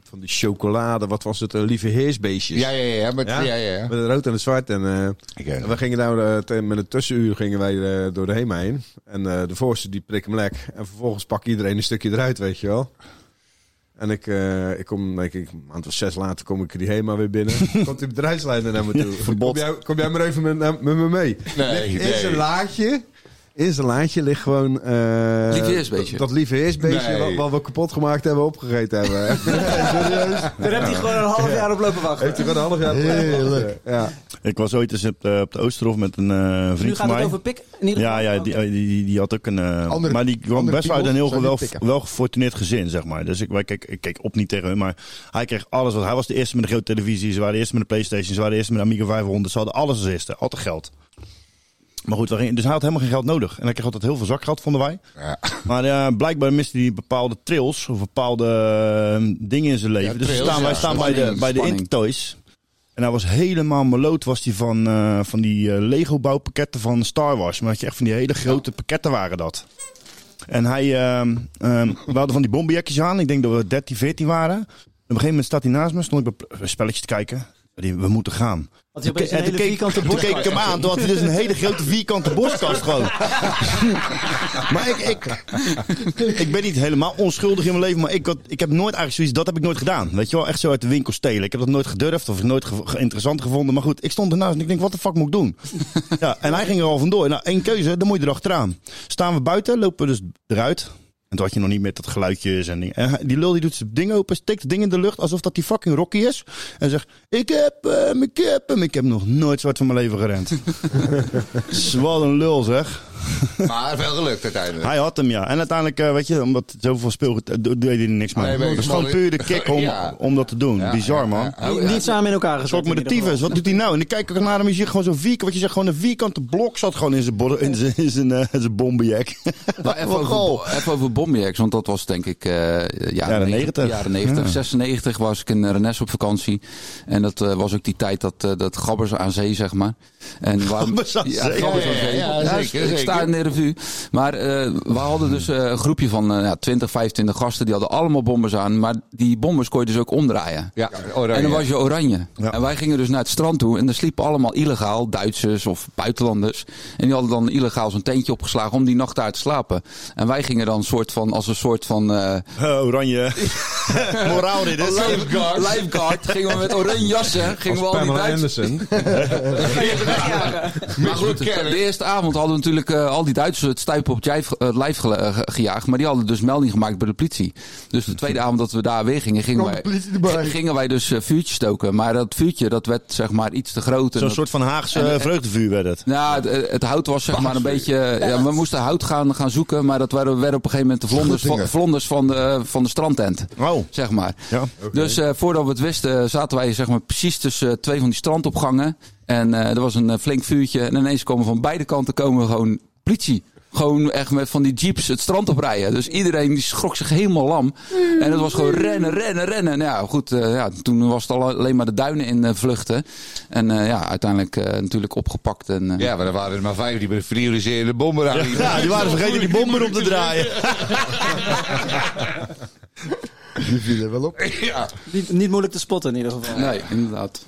E: van die chocolade, wat was het, eh, lieve heersbeestjes.
F: Ja, ja, ja. Met, ja? Ja, ja,
E: Met het rood en het zwart. En eh,
F: Ik, eh,
E: we gingen nou, eh, te- met een tussenuur gingen wij eh, door de Hema heen. En eh, de voorste die prikt hem lek. En vervolgens pak iedereen een stukje eruit, weet je wel. En ik, eh, ik kom, denk ik, een maand of zes later kom ik die Hema weer
D: [LAUGHS]
E: binnen. Komt die bedrijfsleider naar me toe.
B: Verbod.
E: Kom jij, kom jij maar even met, met me mee.
F: Nee,
E: Ligt in zijn
F: nee.
E: laadje. In zijn laadje ligt gewoon... eh,
I: Liefheersbeestje.
E: Dat liefheersbeestje
F: Nee.
E: wat, wat we kapot gemaakt hebben, opgegeten hebben.
D: [LAUGHS]
E: Serieus?
C: Daar heb je gewoon een half jaar op lopen wachten.
E: Heeft hij gewoon een half jaar...
D: Heerlijk.
E: Ja.
B: Ik was ooit eens op de, op de Oosterhof met een eh,
C: Nu
B: vriend van
C: gaat
B: mij.
C: het over pik. In ieder
B: Ja,
C: geval.
B: ja die, die, die, die had ook een. eh,
D: Andere-
B: maar die kwam
D: andere
B: best wel uit een
D: piemels
B: heel
D: zijn
B: wel,
D: die pikken.
B: wel gefortuneerd gezin, zeg maar. Dus ik, wij keek, ik keek op niet tegen hem, maar hij kreeg alles. Wat, hij was de eerste met de grote televisie, ze waren de eerste met de PlayStation, ze waren de eerste met de Amiga 500. Ze hadden alles als eerste, altijd geld. Maar goed, we gingen- dus hij had helemaal geen geld nodig. En hij kreeg altijd heel veel zakgeld, vonden wij.
F: Ja. [LAUGHS]
B: Maar eh, blijkbaar miste hij bepaalde trails of bepaalde eh, dingen in zijn leven.
F: Ja,
B: dus we
F: trails,
B: staan,
F: ja.
B: wij staan bij de,
I: Spanning,
B: bij de
I: spanning.
B: Intertoys. En hij was helemaal meloot was die van, eh, van die eh, Lego bouwpakketten van Star Wars. Maar dat je echt van die hele grote pakketten waren dat. En hij, ehm, ehm, we hadden van die bomberjackjes aan. Ik denk dat we 13, 14 waren. En op een gegeven moment staat hij naast me. Stond ik bij pl- een spelletje te kijken. Die, we moeten gaan.
C: Had hij opeens
B: En
C: een
B: toen
C: hele
B: keek,
C: vierkante
B: toen
C: borst.
B: keek ik hem aan. Toen had hij dus een hele grote vierkante borstkast gewoon. [LAUGHS] maar ik, ik, ik ben niet helemaal onschuldig in mijn leven. Maar ik, had, ik heb nooit eigenlijk zoiets... Dat heb ik nooit gedaan. Weet je wel? Echt zo uit de winkel stelen. Ik heb dat nooit gedurfd. Of ik nooit ge- ge- interessant gevonden. Maar goed, ik stond ernaast en ik denk... Wat de fuck moet ik doen? ja, en hij ging er al vandoor. Nou, één keuze. Dan moet je erachteraan. Staan we buiten. Lopen we dus eruit. En toen had je nog niet met dat geluidjes en dingen. En hij- die lul die doet zijn ding open, steekt het ding in de lucht alsof dat die fucking Rocky is. En zegt, ik heb hem, ik heb hem. Ik heb nog nooit zwart van mijn leven gerend. [LAUGHS] Dus Wat een lul zeg.
F: Maar wel gelukt uiteindelijk.
B: Hij had hem ja. En uiteindelijk, eh, weet je, omdat zoveel speelgoed, eh, do- deed hij er niks mee.
F: Nee, maar
B: Het
F: ik-
B: is gewoon puur de kick om,
F: Ja.
B: om dat te doen.
F: Ja,
B: Bizar
F: ja,
B: man.
F: ja, ja.
C: Niet- Niet samen in elkaar gezet.
B: Een soort met de
C: in ieder
B: tyfus.
C: geval.
B: Wat doet hij nou? En dan kijk ik naar hem. Je ziet gewoon zo'n vierkant. Wat je zegt, gewoon een vierkante blok zat gewoon in zijn, bodder- in zijn, in zijn, eh, in zijn bomberjack.
I: [LAUGHS] Maar Nou, even,
B: Wat
I: over,
B: goal.
I: bo- even over Bomberjax, want dat was denk ik eh jaren,
B: Jaren 90.
I: Jaren 90.
B: Ja.
I: 96 was ik in eh, Rennes op vakantie. En dat eh, was ook die tijd dat, eh, dat Gabbers aan zee, zeg maar. En waarom-
B: Gabbers aan
I: ja,
B: zee.
I: Gabbers
F: Ja,
I: aan
F: ja,
I: zee.
F: ja,
I: Ja,
F: zeker,
I: Ik sta
F: zeker.
I: in de revue. Maar eh, we hadden dus eh, een groepje van eh, ja, 20, 25 gasten. Die hadden allemaal bombers aan. Maar die bombers kon je dus ook omdraaien.
F: Ja, oranje.
I: En dan was je oranje.
B: Ja.
I: En wij gingen dus naar het strand toe. En er sliepen allemaal illegaal Duitsers of buitenlanders. En die hadden dan illegaal zo'n tentje opgeslagen om die nacht daar te slapen. En wij gingen dan soort van, als een soort van eh
B: Eh, oranje. Moraal dit is.
I: [LAUGHS] lifeguard. Gingen we met oranje jassen. Gingen we al die
E: Pamela
I: Duitsers.
E: Anderson.
I: Maar goed, de eerste avond hadden we natuurlijk eh, al die Duitsers het stuipen op het jijf- het lijf gele- eh, ge- gejaagd. Maar die hadden dus melding gemaakt bij de politie. Dus de tweede avond dat we daar weer gingen, gingen
D: Kwam de
I: wij,
D: politie erbij.
I: gingen wij dus eh, vuurtjes stoken. Maar dat vuurtje, dat werd zeg maar iets te groot.
B: [LAUGHS]
I: En
B: Zo'n
I: dat-
B: soort van Haagse eh, vreugdevuur werd het.
I: Nou, het, het hout was zeg maar een beetje... eh, Ja, we moesten hout gaan, gaan zoeken, maar dat werden, werden op een gegeven moment de vlonders, van,
D: Schuttingen.
I: vlonders van, de, eh, van de strandtent.
B: Oh.
I: Zeg maar.
B: Ja.
I: Dus eh, voordat we het wisten zaten wij zeg maar, precies tussen eh, twee van die strandopgangen. En eh, er was een eh, flink vuurtje. En ineens komen van beide kanten komen gewoon politie. Gewoon echt met van die jeeps het strand oprijden. Dus iedereen die schrok zich helemaal lam. En het was gewoon rennen, rennen, rennen. Nou ja, goed. eh, ja, toen was het al- alleen maar de duinen in eh, vluchten. En eh, ja, uiteindelijk eh, natuurlijk opgepakt. En, eh,
F: Ja, maar er waren er maar vijf die bij de prioriserende bommen aan.
B: [LAUGHS] Ja, die waren vergeten die bomber op te draaien.
D: Die viel er wel op.
F: [LAUGHS] Ja.
C: Niet, niet moeilijk te spotten in ieder geval.
I: Nee, inderdaad.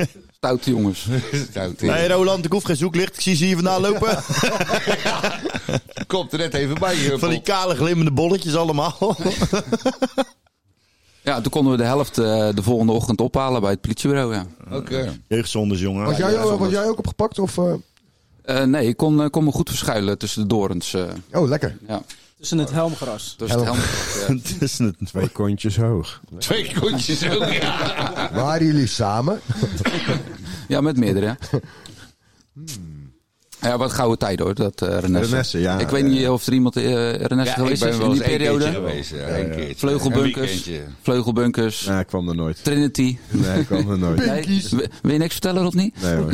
I: [LAUGHS] Stoute jongens.
F: Stout,
B: Hé hey, Roland, ik hoef geen zoeklicht. Ik zie ze hier vandaan lopen.
F: Komt er net even bij. eh, Huppel.
B: Van die kale glimmende bolletjes allemaal.
I: Ja, toen konden we de helft eh, de volgende ochtend ophalen bij het politiebureau. Ja.
F: Oké.
B: Jeugdzondes, jongen.
D: Was jij,
I: ja,
D: ook- was
I: zondag.
D: jij ook opgepakt? Of, eh,
I: Eh, nee, ik kon, eh, kon me goed verschuilen tussen de dorens. eh,
D: Oh, lekker.
I: ja.
C: Tussen het helmgras.
I: Dus het helm. ja.
B: Tussen het
E: Twee [LAUGHS] kontjes hoog.
F: Twee kontjes ook, ja.
D: Waren jullie samen?
I: Ja, met meerdere. hè. Hmm. Ja, wat gouden tijd hoor, dat eh Renesse.
E: Renesse, ja.
I: Ik weet niet of er iemand eh Renesse
F: Ja, ik
I: geweest
F: ben
I: is
F: wel
I: in
F: eens
I: die
F: één keertje
I: periode.
F: geweest. Ja, één keertje. Een
I: Vleugelbunkers,
F: weekendje.
I: vleugelbunkers,
E: Nee, ik kwam er
F: [LAUGHS]
E: nooit.
I: Trinity.
E: Nee, ik kwam er
D: [LAUGHS]
E: nooit.
I: Nee, wil wil je niks vertellen of niet?
E: Nee, hoor.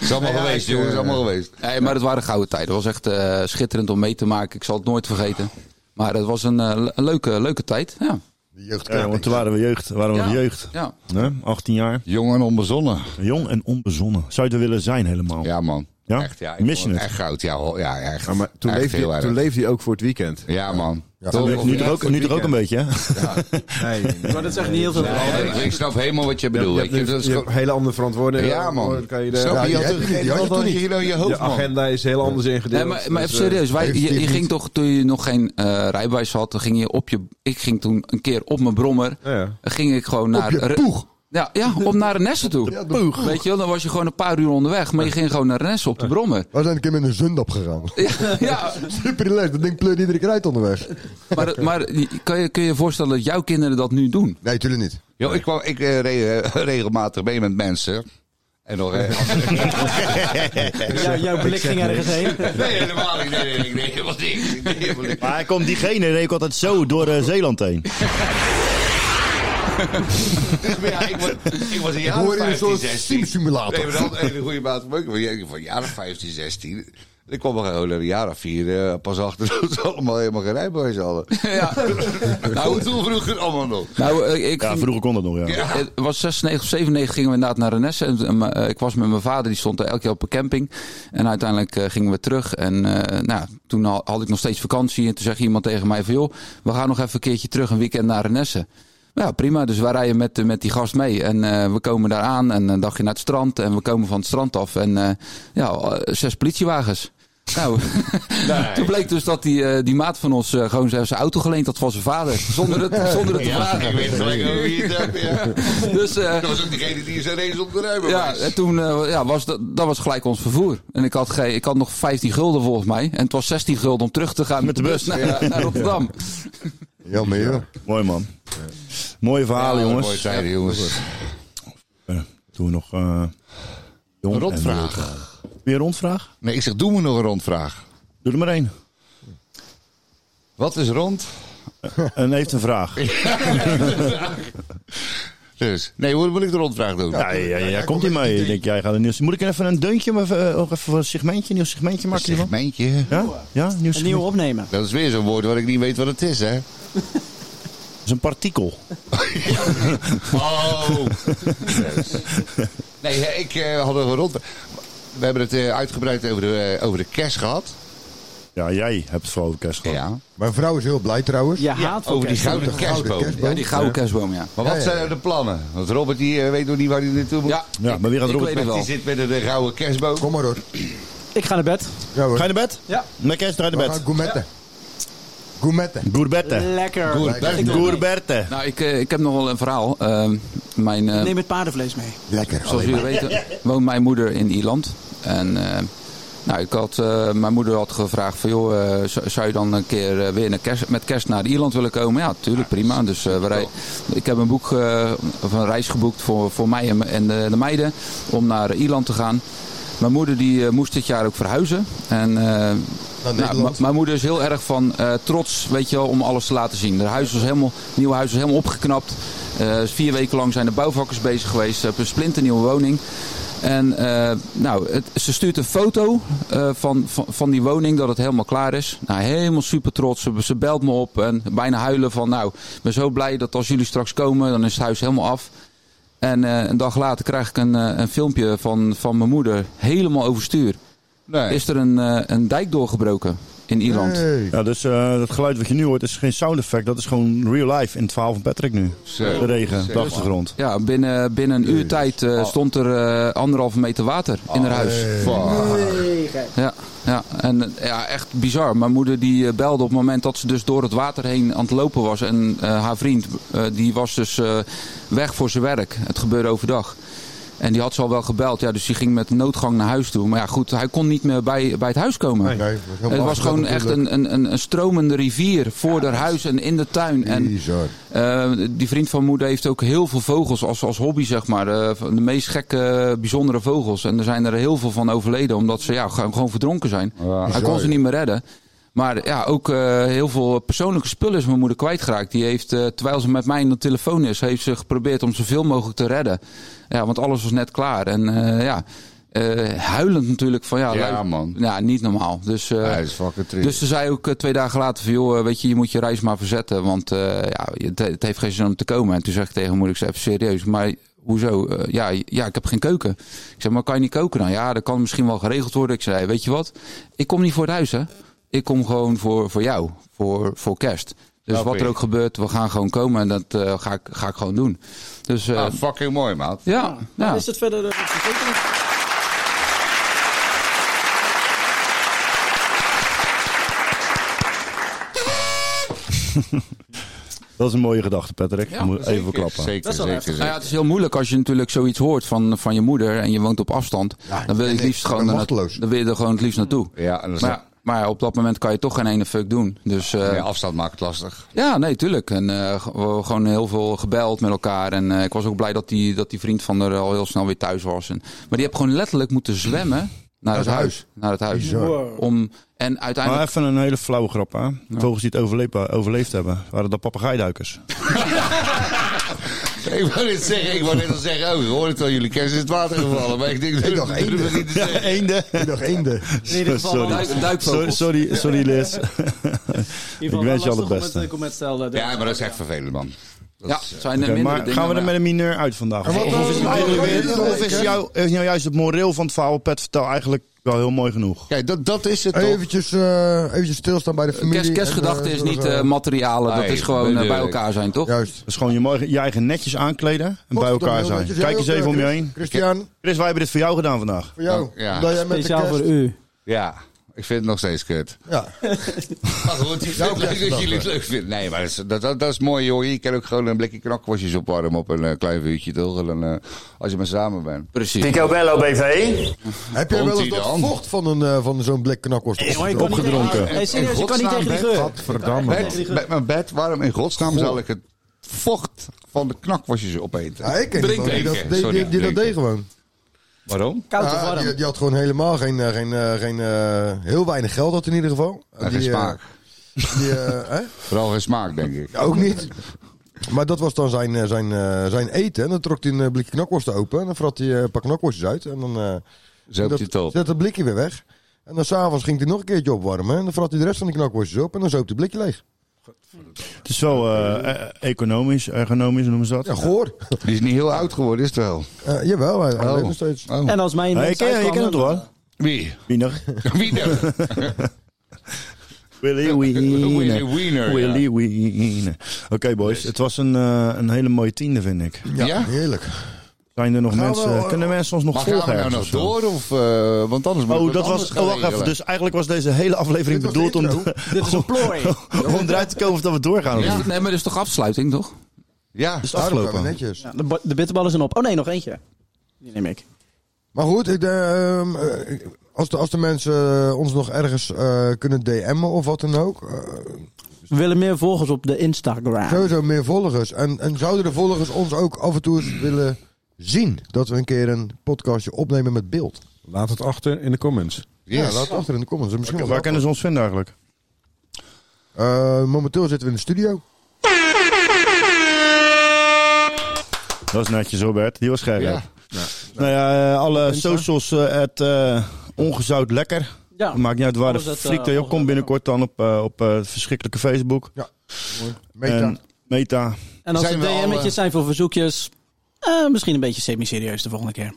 F: Is allemaal geweest, jongens. Is allemaal geweest.
I: Nee, maar het waren gouden tijden. Het was echt eh, schitterend om mee te maken. Ik zal het nooit vergeten. Maar het was een, eh, le- een leuke, leuke tijd. Ja.
D: De jeugd
B: Ja, want toen waren we jeugd. Waren we
I: Ja.
B: nog jeugd.
I: Ja.
B: hè? 18 jaar.
F: Jong en onbezonnen.
B: Jong en onbezonnen. Zou je er willen zijn helemaal?
F: Ja, man.
B: Ja?
F: Echt, ja. ik
B: Miss
F: vond
B: je
F: het Echt goud, ja. ho- Ja, echt.
E: Ja, maar toen
F: Echt
E: leefde,
F: heel
E: je,
F: erg.
E: toen leefde je ook voor het weekend.
F: Ja, man.
E: toen
B: Nu toch ook, nu toch ook een beetje, hè?
E: Nee,
C: Maar dat is echt niet heel veel.
F: Ja, ik snap helemaal wat je bedoelt. weet
E: je
F: je.
E: hebt, nu-
F: Dat is
E: je
F: gewoon-
E: hebt hele andere verantwoordelijkheden.
F: Ja, man.
E: Dan Kan je de,
F: Snap je?
D: die
F: Je
D: heb
F: had
D: je
F: toch
D: niet, die had je
F: helemaal
D: toch
F: dat
D: niet.
F: hier in je
E: de
F: hoofd, man.
E: agenda is heel anders
I: Nee,
E: ingedeeld.
I: maar, maar even
E: Dus,
I: serieus. Wij,
D: heeft
I: je,
D: eh, die
I: je ging
D: niet.
I: toch, toen je nog geen eh, rijbewijs had, dan ging je op je... Ik ging toen een keer op mijn brommer.
E: eh, ja.
I: ging ik gewoon naar...
D: je
I: Re-
D: poeg.
I: Ja, ja, om naar Renesse toe.
D: Poeg.
I: Weet je wel, dan was je gewoon een paar uur onderweg. Maar je ging gewoon naar Renesse op de brommer.
D: We zijn een keer met een zundap gegaan. [LAUGHS]
I: Ja,
D: Super les, dat ding pleurt iedere keer uit onderweg.
I: maar, maar je- kan je kun je je voorstellen dat jouw kinderen dat nu doen?
D: Nee, tuurlijk niet.
F: Yo, ik kwam, ik eh, reed eh, [LAUGHS] regelmatig mee met mensen. En nog... eh,
C: Ja, jouw blik ging ergens heen.
F: [LAUGHS] Nee, helemaal niet. Nee, nee, nee, nee, helemaal niks. Ik [LAUGHS] deed helemaal niks.
B: Maar hij komt diegene reed ik altijd zo door eh, Zeeland heen.
F: Maar ja, ik was, ik was een
D: Ik
F: jaar
D: hoor
F: of
D: in een
F: 15,
D: soort
F: 16. Nee, maar
D: simulator.
F: dat had een hele goede maat van maken. Ik van een jaar of 15, 16. En ik kwam er gewoon een jaar of vier eh, pas achter dat ze allemaal helemaal geen rijbewijs [LAUGHS] hadden.
I: Ja.
F: Nou, toen vroeger allemaal nog.
I: Nou, eh, ik,
B: Ja, vroeger kon dat nog, ja.
I: Eh, Het was 96 of 97 gingen we inderdaad naar Renesse. En, eh, m- eh, ik was met mijn vader, die stond er elke keer op een camping. En uiteindelijk eh, gingen we terug. En eh, nou, toen al- had ik nog steeds vakantie. En toen zei iemand tegen mij van... joh, we gaan nog even een keertje terug een weekend naar Renesse. Ja, prima. Dus wij rijden met, eh, met die gast mee. En eh, we komen daar aan en een dagje naar het strand. En we komen van het strand af. En eh, ja, eh, zes politiewagens. Nou, toen bleek dus dat die, eh, die maat van ons eh, gewoon zijn zijn auto geleend had van zijn vader. Zonder het, zonder het te
F: Ja, [LAUGHS]
I: vragen.
F: ik weet gelijk hoe je het hebt. Ja.
I: Dus eh,
F: Dat was ook diegene die zijn race op de
I: ja,
F: rijbewijs.
I: en toen eh, ja, was dat, dat was gelijk ons vervoer. En ik had, geen- ik had nog 15 gulden volgens mij. En het was 16 gulden om terug te gaan met de bus naar, naar Rotterdam.
D: Jammer, joh.
B: Mooi, man. Mooie verhalen,
F: Mooie
B: jongens.
F: tijden, jongens.
B: Eh, Doen we nog... eh, jong
F: Een
B: en
F: rondvraag.
B: wild. Weer een rondvraag?
F: Nee, ik zeg, doe me nog een rondvraag.
B: Doe er maar één.
F: Wat is rond?
B: En heeft een vraag.
F: Dus, nee, hoe moet ik de rondvraag doen?
B: Ja, ja, ja, ja, komt hij mee. Ik denk, jij gaat een nieuws... Moet ik even een deuntje, maar even, eh, ook even een segmentje, nieuw segmentje
F: een
B: maken hiervan?
F: segmentje.
B: Ja? Ja, nieuw
C: Een nieuwe
B: segmentje.
C: opnemen.
F: Dat is weer zo'n woord waar ik niet weet wat het is, hè?
B: Dat is een partikel.
F: [LAUGHS] Oh! nee, hè, ik eh, had een rond. We hebben het eh, uitgebreid over de, eh, over de kerst gehad.
B: Ja, jij hebt het vooral over kerst gehad.
F: Ja.
D: Mijn vrouw is heel blij trouwens.
C: Je haat voor
F: Over die
C: kerst.
F: gouden
D: Gouden
F: kerstboom.
D: kerstboom.
I: Ja, die gouden kerstboom, ja.
F: Maar wat
D: Ja, ja,
F: zijn
D: ja.
F: nou de plannen? Want Robert die, eh, weet nog niet waar hij naartoe moet.
I: Ja,
B: Ja, maar wie gaat
I: ik
B: Robert
I: weet
F: Met-
I: het
F: die
I: wel.
F: zit met een eh, gouden kerstboom.
D: Kom maar hoor.
C: Ik ga naar bed.
D: Ja hoor.
B: Ga je naar bed?
C: Ja.
B: Met kerst ga je
D: We
B: naar
D: gaan
B: bed.
D: gourmetten. Gourmetten.
B: Gourbetten.
C: Lekker.
F: Gourbetten.
C: Ik doe het mee.
B: Gourbetten.
I: Nou, ik, eh, ik heb nog wel een verhaal. Ehm, mijn, eh,
C: Neem het paardenvlees mee.
D: Lekker.
I: Zoals jullie weten woont mijn moeder in Ierland. En eh, nou, ik had, eh, mijn moeder had gevraagd van joh, eh, z- zou je dan een keer eh, weer naar kerst, met kerst naar Ierland willen komen? Ja, tuurlijk, prima. Dus eh, we rij- ik heb een boek eh, of een reis geboekt voor, voor mij en, en de, de meiden om naar Ierland te gaan. Mijn moeder die eh, moest dit jaar ook verhuizen. En eh, nou,
D: Nederland.
I: m- mijn moeder is heel erg van eh, trots, weet je wel, om alles te laten zien. Haar huis was helemaal, nieuwe huis was helemaal opgeknapt. Eh, vier weken lang zijn de bouwvakkers bezig geweest. eh, Ze hebben een splinternieuwe woning. En eh, nou, het- ze stuurt een foto eh, van, van, van die woning dat het helemaal klaar is. Nou, helemaal super trots. Ze, ze belt me op en bijna huilen van nou, ik ben zo blij dat als jullie straks komen, dan is het huis helemaal af. En eh, een dag later krijg ik een, eh, een filmpje van, van mijn moeder helemaal overstuur
F: Nee.
I: is er een, eh, een dijk doorgebroken. in Ierland.
B: Ja, dus eh dat geluid wat je nu hoort is geen sound effect. Dat is gewoon real life in het verhaal van Patrick nu. De regen, op de achtergrond.
I: Ja, binnen, binnen een uur tijd
D: Oh.
I: eh, stond er eh, anderhalve meter water in haar huis. Ja, ja, en eh, ja, echt bizar. Mijn moeder die eh, belde op het moment dat ze dus door het water heen aan het lopen was. En eh, haar vriend, eh, die was dus eh, weg voor zijn werk. Het gebeurde overdag. En die had ze al wel gebeld. Ja, dus die ging met noodgang naar huis toe. Maar ja, goed, hij kon niet meer bij, bij het huis komen.
D: Nee, nee,
I: het was gewoon
D: natuurlijk.
I: echt een, een, een, een stromende rivier voor haar huis en in de tuin. En eh, die vriend van moeder heeft ook heel veel vogels als, als hobby, zeg maar. Eh, van de meest gekke, eh, bijzondere vogels. En er zijn er heel veel van overleden, omdat ze ja, gewoon gewoon verdronken zijn. Hij kon
F: Bizar,
I: ze niet meer redden. Maar ja, ook eh, heel veel persoonlijke spullen is mijn moeder kwijtgeraakt. Die heeft, eh, terwijl ze met mij in de telefoon is, heeft ze geprobeerd om zoveel mogelijk te redden. Ja, want alles was net klaar. En eh, ja, eh, huilend natuurlijk van ja,
F: Ja,
I: lui-
F: man.
I: Ja, niet normaal. Dus, eh,
F: Hij is fucking triest.
I: dus ze zei ook eh, twee dagen later van joh, eh, weet je, je moet je reis maar verzetten. Want eh, ja, het, het heeft geen zin om te komen. En toen zeg ik tegen mijn moeder, ik zeg even serieus, maar hoezo? Eh, ja, ja, ik heb geen keuken. Ik zeg, maar kan je niet koken dan? Ja, dat kan misschien wel geregeld worden. Ik zei, hey, weet je wat? Ik kom niet voor het huis hè. Ik kom gewoon voor, voor jou, voor, voor kerst. Dus
F: Snap
I: wat er
F: ik.
I: ook gebeurt, we gaan gewoon komen en dat eh, ga, ik, ga ik gewoon doen. Dus eh,
F: Ah, fucking mooi, maat.
I: ja, ja.
C: Is het verder... eh, verzekerd?
B: Dat is een mooie gedachte, Patrick.
I: Ja,
B: Moet even
I: zeker,
B: klappen.
F: zeker, Dat is wel zeker, heftig. zeker.
I: Nou ja, het is heel moeilijk als je natuurlijk zoiets hoort van, van je moeder en je woont op afstand. dan wil je het
D: nee,
I: liefst
D: ik ben
I: gewoon, erna-
D: machteloos.
I: dan wil je er gewoon het liefst naartoe.
F: Ja, en dat is
I: Maar, maar ja, op dat moment kan je toch geen ene fuck doen. Dus eh,
F: Ja, afstand maakt het lastig.
I: ja, nee, tuurlijk. En eh, ge- we- gewoon heel veel gebeld met elkaar. En eh, ik was ook blij dat die, dat die vriend van haar al heel snel weer thuis was. En, maar die heb gewoon letterlijk moeten zwemmen naar het,
D: het
I: huis.
D: huis.
I: Naar het huis.
D: Bizar.
I: Om, en
B: Maar
I: uiteindelijk...
B: even een hele flauwe grap, hè. Vogels die het overleefd, overleefd hebben, waren dat papegaaiduikers.
F: Ik wou net zeggen, ik wou net al zeggen, oh, ik hoorde het al, jullie kerst is het water gevallen. Maar ik denk, dat
D: nog één.
F: durven we niet te [LAUGHS] zeggen.
B: Eenden.
D: Nog eenden.
C: In ieder geval wel-
I: Duik-
B: Sorry,
I: duikvogels.
B: sorry, sorry Liz.
C: in
B: Ik
C: ieder geval wel
B: wens je al het
C: lastig om
B: beste.
C: eh, comment te stellen.
F: Ja, maar dat is echt vervelend, man. Dat
I: Ja,
F: is, eh,
I: zijn er
B: Oké,
I: minder
B: maar gaan we er met een mineur uit vandaag? Of, of is, het eigenlijk weer- of is jou, is nou juist het moreel van het verhaal, Pet, vertel eigenlijk wel heel mooi genoeg?
F: Kijk, dat, dat is het toch?
D: Eventjes, eh, eventjes stilstaan bij de familie.
I: Kerst,
D: en,
I: kerstgedachte
D: eh,
I: is
D: zorgen-
I: niet eh, materialen, dat
F: Nee,
I: is gewoon eh, bij
F: natuurlijk.
I: elkaar zijn, toch?
D: Juist.
B: Dus gewoon je, mooi, je eigen netjes aankleden en bij elkaar zijn.
D: Godverdomme, heel netjes.
B: Kijk
D: Jij
B: eens
D: ook,
B: even om je
D: eh,
B: heen.
D: Christian,
B: Chris, wij hebben dit voor jou gedaan vandaag.
D: voor jou.
F: Ja.
D: Omdat jij met de
C: Speciaal voor
D: kerst-
C: u.
F: Ja, ik vind het nog steeds kut.
D: Ja.
F: Maar goed, ik vind het leuk dat jullie het leuk vinden. Nee, maar dat is, dat, dat, dat is mooi, hoor. Je kan ook gewoon een blikje knakworstjes opwarmen op een eh, klein vuurtje, toch? En, dan, eh, als je maar samen bent.
I: Precies.
A: Bello BV.
D: Heb jij wel eens
F: Komt-ie
D: dat
F: dan?
D: vocht van, een, eh, van zo'n blik knakworst?
C: Jongen, Oh, ik kan niet tegen-
B: Opgedronken.
C: Nee, serieus, ik kan niet tegen die geur.
F: Bed, met mijn bed, waarom in godsnaam zal ik het vocht van de knakworstjes opeten?
D: Ja, ik ken
F: Drink-
D: iemand die dat, die-
F: drinken,
D: die-
F: sorry,
D: die dat
F: drinken.
D: deed gewoon.
F: Waarom?
C: Koud of
D: Ja, die,
C: warm.
D: die had gewoon helemaal geen, eh, geen, eh, geen eh, heel weinig geld had in ieder geval.
F: En
D: die,
F: geen
D: eh,
F: smaak.
D: die, eh, hè?
F: Vooral geen smaak, denk ik.
D: Ja, ook niet. Maar dat was dan zijn, eh, zijn, eh, zijn eten. En dan trok hij een eh, blikje knakworsten open. En dan vrat hij eh, een paar knakworstjes uit. En dan eh,
F: Zo
D: dat-
F: op je top.
D: zette het blikje weer weg. En dan s'avonds ging hij nog een keertje opwarmen. En dan vrat hij de rest van die knakworstjes op. En dan zoop hij het blikje leeg.
B: Het is wel eh, eh, economisch, ergonomisch noemen ze dat.
D: Ja, goor.
F: Die is niet heel oud geworden, is het wel?
D: Eh, jawel, hij, hij
F: Oh.
D: leeft nog steeds.
F: Oh.
C: En als mijn
B: Nee,
C: mensen
B: je ken- je
C: uitkwamen-
B: kent het wel.
F: Wie?
B: Wiener.
F: [LAUGHS] Wie nou? dan?
B: Willy
F: Willy
B: Wiener.
F: Wiener. ja.
B: Willy Wiener. Oké boys, het was een, eh, een hele mooie tiende vind ik.
F: Ja?
D: Heerlijk.
B: Zijn er nog
D: Gaan we,
B: mensen,
D: eh,
B: kunnen mensen ons nog
F: Maar
B: volgen
F: gaan we nou
B: ergens
F: nog
B: of zo?
F: door? Of, eh, want anders moet
B: Oh, dat was. Oh, wacht even. Dus eigenlijk was deze hele aflevering
D: Dit was de
B: bedoeld om, [LAUGHS]
C: Dit is een plooi.
B: om eruit te komen of dat we doorgaan. of
I: Ja,
B: niet.
I: nee, maar dat is toch afsluiting, toch?
F: Ja,
B: Dus
D: Daarom zijn we
B: afgelopen.
D: netjes.
C: Ja, de, ba- de bitterballen zijn op. Oh nee, nog eentje. Die neem ik.
D: Maar goed, ik, eh, ehm, eh, ik- als, de, als de mensen eh, ons nog ergens eh, kunnen DM'en of wat dan ook. eh,
C: We willen meer volgers op de Instagram.
D: Sowieso meer volgers. En, en zouden de volgers ons ook af en toe eens willen zien? Dat we een keer een podcastje opnemen met beeld.
E: Laat het achter in de comments.
D: Ja, laat het achter in de comments. Misschien wel
B: Waar
D: grappig.
B: kennen ze ons vinden eigenlijk?
D: Eh, momenteel zitten we in de studio.
B: Dat is netjes, Robert. Die was scherp.
F: Ja.
B: Nou ja, eh, alle socials, eh, het eh, ongezout lekker.
C: Ja.
B: Maakt niet uit waar de
C: Alles het, eh,
B: fliek je ook komt
C: ongezout.
B: binnenkort dan op, eh, op eh, het verschrikkelijke Facebook.
D: Meta.
B: En Meta.
C: En als
F: Zijn
C: er
F: we al,
C: DM'tjes
F: eh,
C: zijn voor verzoekjes, eh, misschien een beetje semi-serieus de volgende keer.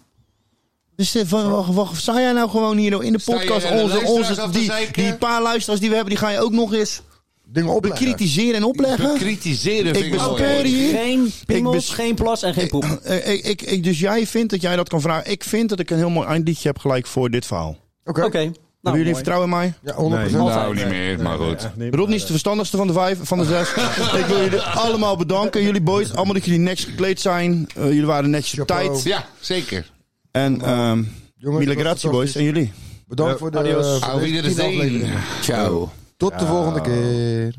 B: Dus eh, van, wacht, wacht, sta jij nou gewoon hier in de
F: je
B: podcast
F: aan de
B: onze,
F: luisteraars
B: onze,
F: af te
B: die,
F: zeiken?
B: die paar luisteraars die we hebben, die ga je ook nog eens dingen opleggen. bekritiseren en opleggen?
F: Bekritiseren vind
B: Ik Oh,
F: ik mooi.
B: bespeurde hier.
C: Geen piemels,
B: bes-
C: geen plas en geen poep.
B: Eh, ik, ik, ik- dus jij vindt dat jij dat kan vragen. Ik vind dat ik een heel mooi eindliedje heb gelijk voor dit verhaal.
C: Oké. nou,
B: hebben jullie vertrouwen in mij?
M: Ja, 100%.
F: Nou, niet meer, maar goed.
B: Rob niet is de verstandigste van de vijf, van de
M: [LAUGHS]
B: zes. ik wil jullie allemaal bedanken. Jullie boys, allemaal dat jullie netjes gekleed zijn. Eh, jullie waren netjes op
M: Chapeau.
B: tijd.
F: Ja, zeker.
B: En ehm
M: Jongens, dat
B: mille
M: was
B: grazie boys, en jullie.
M: Bedankt
N: Ja,
M: voor de,
B: adios.
M: eh, voor
F: Hou
M: deze
F: iedereen
M: tien afleveringen.
F: zin. Ciao.
M: Tot de volgende keer.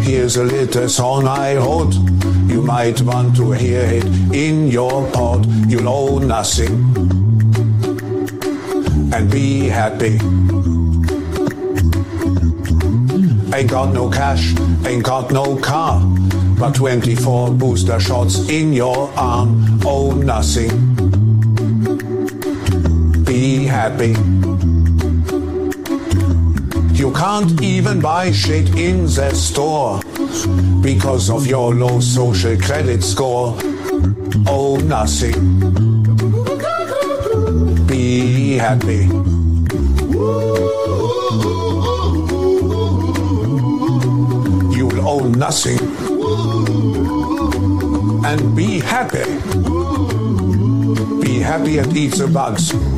D: Here's a little song I wrote. You might want to hear it in your pod. You'll own nothing and be happy. Ain't got no cash, ain't got no car, but 24 booster shots in your arm. Own nothing. Be happy. You can't even buy shit in the store because of your low social credit score. Oh, nothing. Be happy. You'll own nothing and be happy. Be happy and eat the bugs.